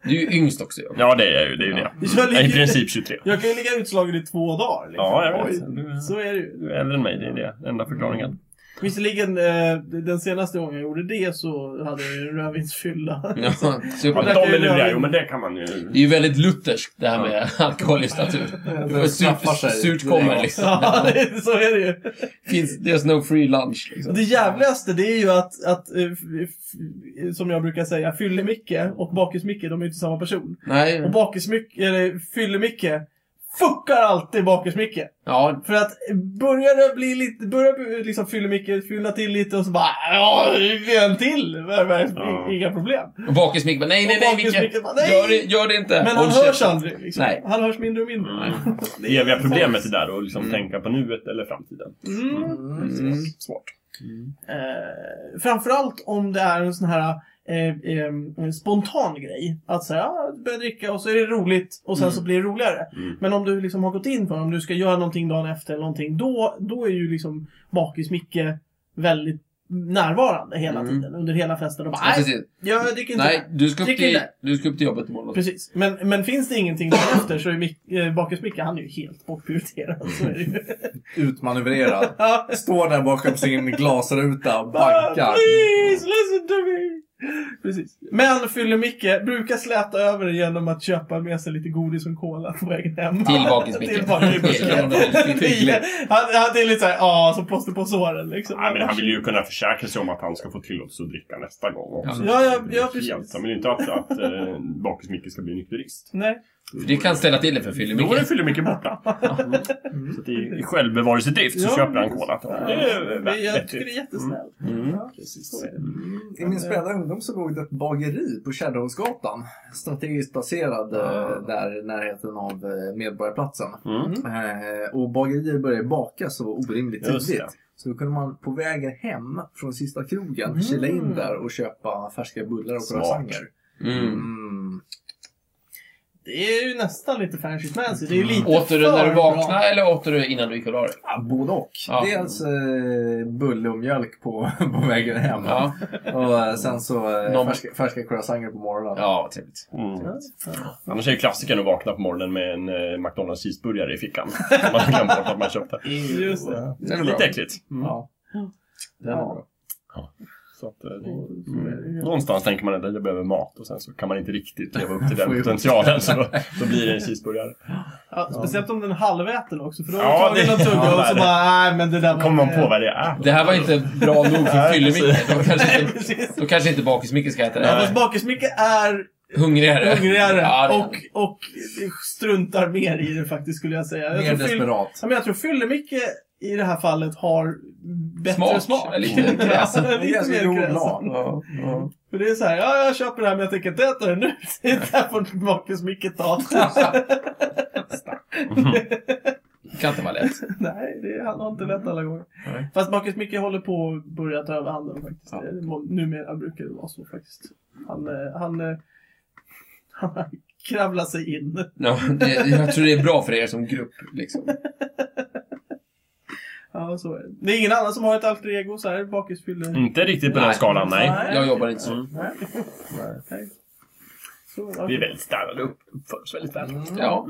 [SPEAKER 4] du är ju yngst också. ju.
[SPEAKER 3] Ja, det är ju det. Är ju det.
[SPEAKER 1] Jag ligger-
[SPEAKER 3] I princip 23.
[SPEAKER 1] Jag kan ju ligga utslagen i två dagar. Liksom.
[SPEAKER 3] Ja, jag vet.
[SPEAKER 1] Oj, Mm.
[SPEAKER 3] Du är-
[SPEAKER 1] Så är det ju.
[SPEAKER 3] du är äldre än mig, det är det. Enda förklaringen.
[SPEAKER 1] Visserligen, eh, den senaste gången jag gjorde det så hade jag ju en rödvinsfylla.
[SPEAKER 4] Ja,
[SPEAKER 3] Ja,
[SPEAKER 4] super.
[SPEAKER 1] där
[SPEAKER 3] men
[SPEAKER 1] kan
[SPEAKER 3] de
[SPEAKER 1] ju
[SPEAKER 3] är luriga,
[SPEAKER 1] göra- Mm.
[SPEAKER 3] jo men det kan man ju.
[SPEAKER 4] Det är ju väldigt lutherskt det här med alkohol i statur.
[SPEAKER 5] Det straffar sig.
[SPEAKER 4] Surt, surt kommer liksom.
[SPEAKER 1] Ja, det, så är det ju.
[SPEAKER 4] Finns, there's no free lunch. Liksom.
[SPEAKER 1] Det jävligaste det är ju att, att eh, f- f- som jag brukar säga, Fylle-Micke och Bakis-Micke, de är ju inte samma person.
[SPEAKER 4] Nej.
[SPEAKER 1] Och Bakis-Micke, eller Fylle-Micke, fuckar alltid Bakis-Micke.
[SPEAKER 4] Ja,
[SPEAKER 1] För att börjar det bli lite, börjar liksom Fylle-Micke fylla till lite och så bara ja, det är en till.
[SPEAKER 3] Ja.
[SPEAKER 1] Inga problem.
[SPEAKER 4] bakis Micke bara, nej, nej, nej,
[SPEAKER 1] Och bakis
[SPEAKER 4] Micke.
[SPEAKER 1] Micke bara, nej!
[SPEAKER 4] Gör det, gör det inte.
[SPEAKER 1] Men
[SPEAKER 4] Håll
[SPEAKER 1] han hörs
[SPEAKER 4] käften.
[SPEAKER 1] aldrig. Liksom.
[SPEAKER 4] Nej.
[SPEAKER 1] Han hörs mindre och mindre.
[SPEAKER 4] Nej.
[SPEAKER 3] Det eviga problemet är där och liksom tänka på nuet eller framtiden.
[SPEAKER 1] Mm.
[SPEAKER 4] Mm.
[SPEAKER 3] Svårt.
[SPEAKER 1] Eh, framförallt om det är en sån här eh, eh, spontan grej. Att säga, ja, börja dricka och så är det roligt och sen
[SPEAKER 4] Mm.
[SPEAKER 1] så blir det roligare.
[SPEAKER 3] Mm.
[SPEAKER 1] Men om du liksom har gått in för det, om du ska göra någonting dagen efter eller någonting, då, då är ju liksom bakis-Micke väldigt närvarande hela
[SPEAKER 4] Mm.
[SPEAKER 1] tiden under hela festen och bara,
[SPEAKER 4] Ja,
[SPEAKER 1] nej,
[SPEAKER 4] precis.
[SPEAKER 1] jag dricker inte.
[SPEAKER 4] Nej, du ska upp
[SPEAKER 1] Drick
[SPEAKER 4] till,
[SPEAKER 1] inte.
[SPEAKER 4] du ska upp till jobbet imorgon.
[SPEAKER 1] Precis. Men, men finns det ingenting dagen efter så är Mic- eh, bakis-Micke, han är ju helt bortprioriterad. Så är det ju.
[SPEAKER 5] Utmanövrerad.
[SPEAKER 1] Ja.
[SPEAKER 5] Står där bakom sin glasruta och bankar.
[SPEAKER 1] Please listen to me! Precis. Men Fylle-Micke brukar släta över det genom att köpa med sig lite godis och cola på vägen hem.
[SPEAKER 4] Till bakis Micke.
[SPEAKER 1] Till Bakis-Micke.
[SPEAKER 4] Ja, det är väldigt
[SPEAKER 5] hyggligt.
[SPEAKER 1] han, han är lite såhär, ja, som plåster på såren liksom.
[SPEAKER 3] Nej, men han vill ju kunna försäkra sig om att han ska få tillåtelse att dricka nästa gång också.
[SPEAKER 1] Ja, ja, ja
[SPEAKER 3] Helt.
[SPEAKER 1] precis.
[SPEAKER 3] Han vill ju inte att, att eh, Bakis-Micke ska bli nykterist.
[SPEAKER 1] Nej.
[SPEAKER 4] Det kan ställa till det för Fylle
[SPEAKER 3] Då är
[SPEAKER 4] Micke.
[SPEAKER 3] det Fylle-Micke borta. Så att i, i självbevarelsedrift så
[SPEAKER 1] Ja,
[SPEAKER 3] köper han Mm.
[SPEAKER 1] precis.
[SPEAKER 3] cola. Det typ. är
[SPEAKER 1] Det- Jag tycker
[SPEAKER 3] vettigt.
[SPEAKER 1] det är jättesnällt.
[SPEAKER 4] Mm.
[SPEAKER 1] Ja, så är det.
[SPEAKER 5] I min späda ungdom så låg det ett bageri på Kärrhovsgatan. Strategiskt placerad eh, där i närheten av eh, Medborgarplatsen.
[SPEAKER 3] Mm.
[SPEAKER 5] Eh, Och bagerier började baka så orimligt
[SPEAKER 3] Just det.
[SPEAKER 5] tidigt. Så då kunde man på vägen hem från sista krogen kila in där och köpa färska bullar och
[SPEAKER 3] Smart.
[SPEAKER 5] croissanter.
[SPEAKER 4] Mm.
[SPEAKER 5] Mm.
[SPEAKER 1] Det är ju nästan lite fancy fancy. Det är ju lite
[SPEAKER 4] Åt du det när Mm.
[SPEAKER 1] för
[SPEAKER 4] du
[SPEAKER 1] bra.
[SPEAKER 4] vaknade eller åt du det innan du gick och la dig?
[SPEAKER 5] Ja, både och.
[SPEAKER 4] Ja.
[SPEAKER 5] Dels eh, bulle och mjölk på, på vägen hem.
[SPEAKER 4] Ja,
[SPEAKER 5] Och eh, sen så eh,
[SPEAKER 4] Någon-
[SPEAKER 5] färska, färska croissanter på morgonen.
[SPEAKER 4] ja vad trevligt.
[SPEAKER 3] Mm.
[SPEAKER 1] Ja.
[SPEAKER 3] Annars är ju klassikern att vakna på morgonen med en eh, McDonalds cheeseburgare i fickan. Som man har glömt bort att man köpte.
[SPEAKER 1] Just det.
[SPEAKER 4] Den är
[SPEAKER 3] Lite
[SPEAKER 4] bra.
[SPEAKER 3] äckligt.
[SPEAKER 2] Mm.
[SPEAKER 5] Ja. Den är bra.
[SPEAKER 3] Så att, eh, mm. Någonstans tänker man att jag behöver mat och sen så kan man inte riktigt leva upp till den
[SPEAKER 5] Får ihop.
[SPEAKER 3] potentialen. Så då, då blir det en cheeseburgare.
[SPEAKER 1] Ja, speciellt om den halväten också, för då har
[SPEAKER 3] Ja,
[SPEAKER 1] du tagit
[SPEAKER 3] det-
[SPEAKER 1] någon tugga
[SPEAKER 3] ja,
[SPEAKER 1] och så
[SPEAKER 3] det-
[SPEAKER 1] bara, nej men det där var
[SPEAKER 3] Kommer man
[SPEAKER 1] inte-
[SPEAKER 3] på vad det är?
[SPEAKER 4] Det här var inte bra nog för
[SPEAKER 3] Nej,
[SPEAKER 4] Fylle Micke.
[SPEAKER 3] precis.
[SPEAKER 4] Då kanske
[SPEAKER 1] Nej,
[SPEAKER 4] inte,
[SPEAKER 1] precis.
[SPEAKER 4] då kanske inte Bakis Micke ska äta det
[SPEAKER 1] Ja,
[SPEAKER 4] här.
[SPEAKER 1] fast Bakis-Micke är
[SPEAKER 4] hungrigare.
[SPEAKER 1] hungrigare
[SPEAKER 4] Ja, det är han.
[SPEAKER 1] och, och struntar mer i det faktiskt skulle jag säga. Jag
[SPEAKER 2] Mer
[SPEAKER 1] tror, fyll,
[SPEAKER 2] desperat.
[SPEAKER 1] ja, men jag tror Fyllemicke i det här fallet har bättre
[SPEAKER 4] Smak.
[SPEAKER 1] smak.
[SPEAKER 4] Lite mer kräsen.
[SPEAKER 1] Ja, lite
[SPEAKER 5] Ganska
[SPEAKER 1] mer
[SPEAKER 5] grov
[SPEAKER 1] kräsen.
[SPEAKER 5] lag.
[SPEAKER 4] Ja, ja.
[SPEAKER 1] För det är så här, ja jag köper det här men jag tänker inte äta det nu. Det här får Marcus Micke ta.
[SPEAKER 4] Det kan inte vara lätt.
[SPEAKER 1] Nej, det, han har inte lätt alla gånger.
[SPEAKER 2] Nej.
[SPEAKER 1] Fast Marcus Micke håller på att börja ta över handen faktiskt.
[SPEAKER 2] Ja.
[SPEAKER 1] Det må- Numera brukar det vara så faktiskt. Han, eh, han, eh, han kravlar sig in.
[SPEAKER 4] Ja, det, jag tror det är bra för er som grupp. Liksom.
[SPEAKER 1] Ja, så är det. Det är ingen annan som har ett alter ego så här, bakisfylle.
[SPEAKER 3] Inte riktigt på den
[SPEAKER 4] Nej.
[SPEAKER 3] skalan, nej.
[SPEAKER 4] Jag jobbar inte
[SPEAKER 3] Mm.
[SPEAKER 4] så.
[SPEAKER 1] Nej. Nej. Så, ja.
[SPEAKER 3] Vi är väldigt stannade upp, uppför oss väldigt väl.
[SPEAKER 4] Ja,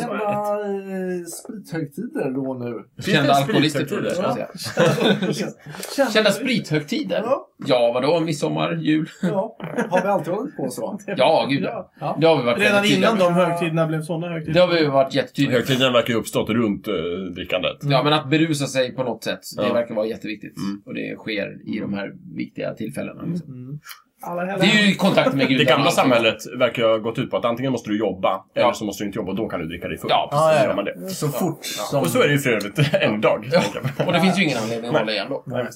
[SPEAKER 5] Kända eh, sprithögtider då nu.
[SPEAKER 4] kända alkoholister tror jag
[SPEAKER 3] sprithögtider?
[SPEAKER 4] skulle jag säga.
[SPEAKER 1] Kända-
[SPEAKER 4] Kända sprithögtider?
[SPEAKER 1] Ja.
[SPEAKER 4] Ja, vadå? Midsommar, jul?
[SPEAKER 5] Ja. Har vi alltid hållit på så?
[SPEAKER 4] Ja, gud ja.
[SPEAKER 1] Ja.
[SPEAKER 4] Det har vi varit
[SPEAKER 1] Redan
[SPEAKER 4] väldigt tydliga
[SPEAKER 1] innan
[SPEAKER 4] med.
[SPEAKER 1] de högtiderna blev sådana
[SPEAKER 4] Det
[SPEAKER 1] högtider.
[SPEAKER 4] har vi varit jättetydliga med.
[SPEAKER 3] Högtiden verkar ju uppstått runt eh, drickandet.
[SPEAKER 4] Ja, men att berusa sig på något sätt, det
[SPEAKER 3] Ja.
[SPEAKER 4] verkar vara jätteviktigt.
[SPEAKER 3] Mm.
[SPEAKER 4] Och det sker i de här viktiga tillfällena. Liksom.
[SPEAKER 1] Mm. Alla
[SPEAKER 4] Det
[SPEAKER 1] helgar.
[SPEAKER 4] är ju i kontakt med gudarna.
[SPEAKER 3] Det gamla
[SPEAKER 4] alltså.
[SPEAKER 3] samhället verkar ju ha gått ut på att antingen måste du jobba,
[SPEAKER 4] Ja.
[SPEAKER 3] eller så måste du inte jobba och då kan du dricka dig full.
[SPEAKER 4] Ja,
[SPEAKER 3] Så
[SPEAKER 2] precis.
[SPEAKER 3] gör man det.
[SPEAKER 2] Så fort som...
[SPEAKER 3] Och så är det ju för övrigt än idag.
[SPEAKER 4] Ja.
[SPEAKER 3] tänker jag.
[SPEAKER 4] Och det finns ju ingen anledning att
[SPEAKER 3] Nej.
[SPEAKER 4] hålla igen då.
[SPEAKER 3] Nej.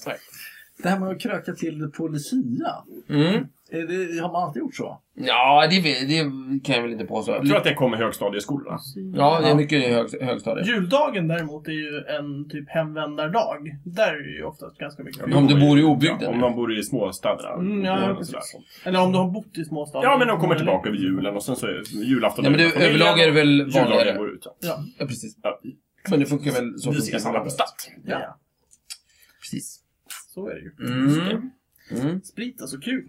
[SPEAKER 5] Det här med att kröka till på Lucia.
[SPEAKER 4] Mm.
[SPEAKER 5] Är det, har man alltid gjort så?
[SPEAKER 4] Ja, det, det kan jag väl inte påstå.
[SPEAKER 3] Jag tror att det kommer i högstadieskolorna.
[SPEAKER 4] Ja, det är mycket i hög, högstadiet.
[SPEAKER 1] Juldagen däremot är ju en typ hemvändardag. Där är det ju oftast ganska mycket.
[SPEAKER 4] Om du bor i obygden.
[SPEAKER 3] Ja, om de bor i småstäderna.
[SPEAKER 1] Mm, ja,
[SPEAKER 3] Och
[SPEAKER 1] precis.
[SPEAKER 3] sådär.
[SPEAKER 1] Eller om du har bott i småstaden.
[SPEAKER 3] ja, men de kommer tillbaka över julen och sen så är det julafton.
[SPEAKER 4] Ja, men det,
[SPEAKER 3] Familjen,
[SPEAKER 4] överlag är det väl
[SPEAKER 3] Juldagen
[SPEAKER 4] vanligare.
[SPEAKER 3] går ut.
[SPEAKER 1] Ja.
[SPEAKER 4] Ja, precis.
[SPEAKER 3] Ja.
[SPEAKER 4] Men det funkar väl så.
[SPEAKER 3] Vi ses alla på stat.
[SPEAKER 1] Ja.
[SPEAKER 4] Precis.
[SPEAKER 1] så är det ju.
[SPEAKER 4] Mm. Mm.
[SPEAKER 1] Sprit är så kul.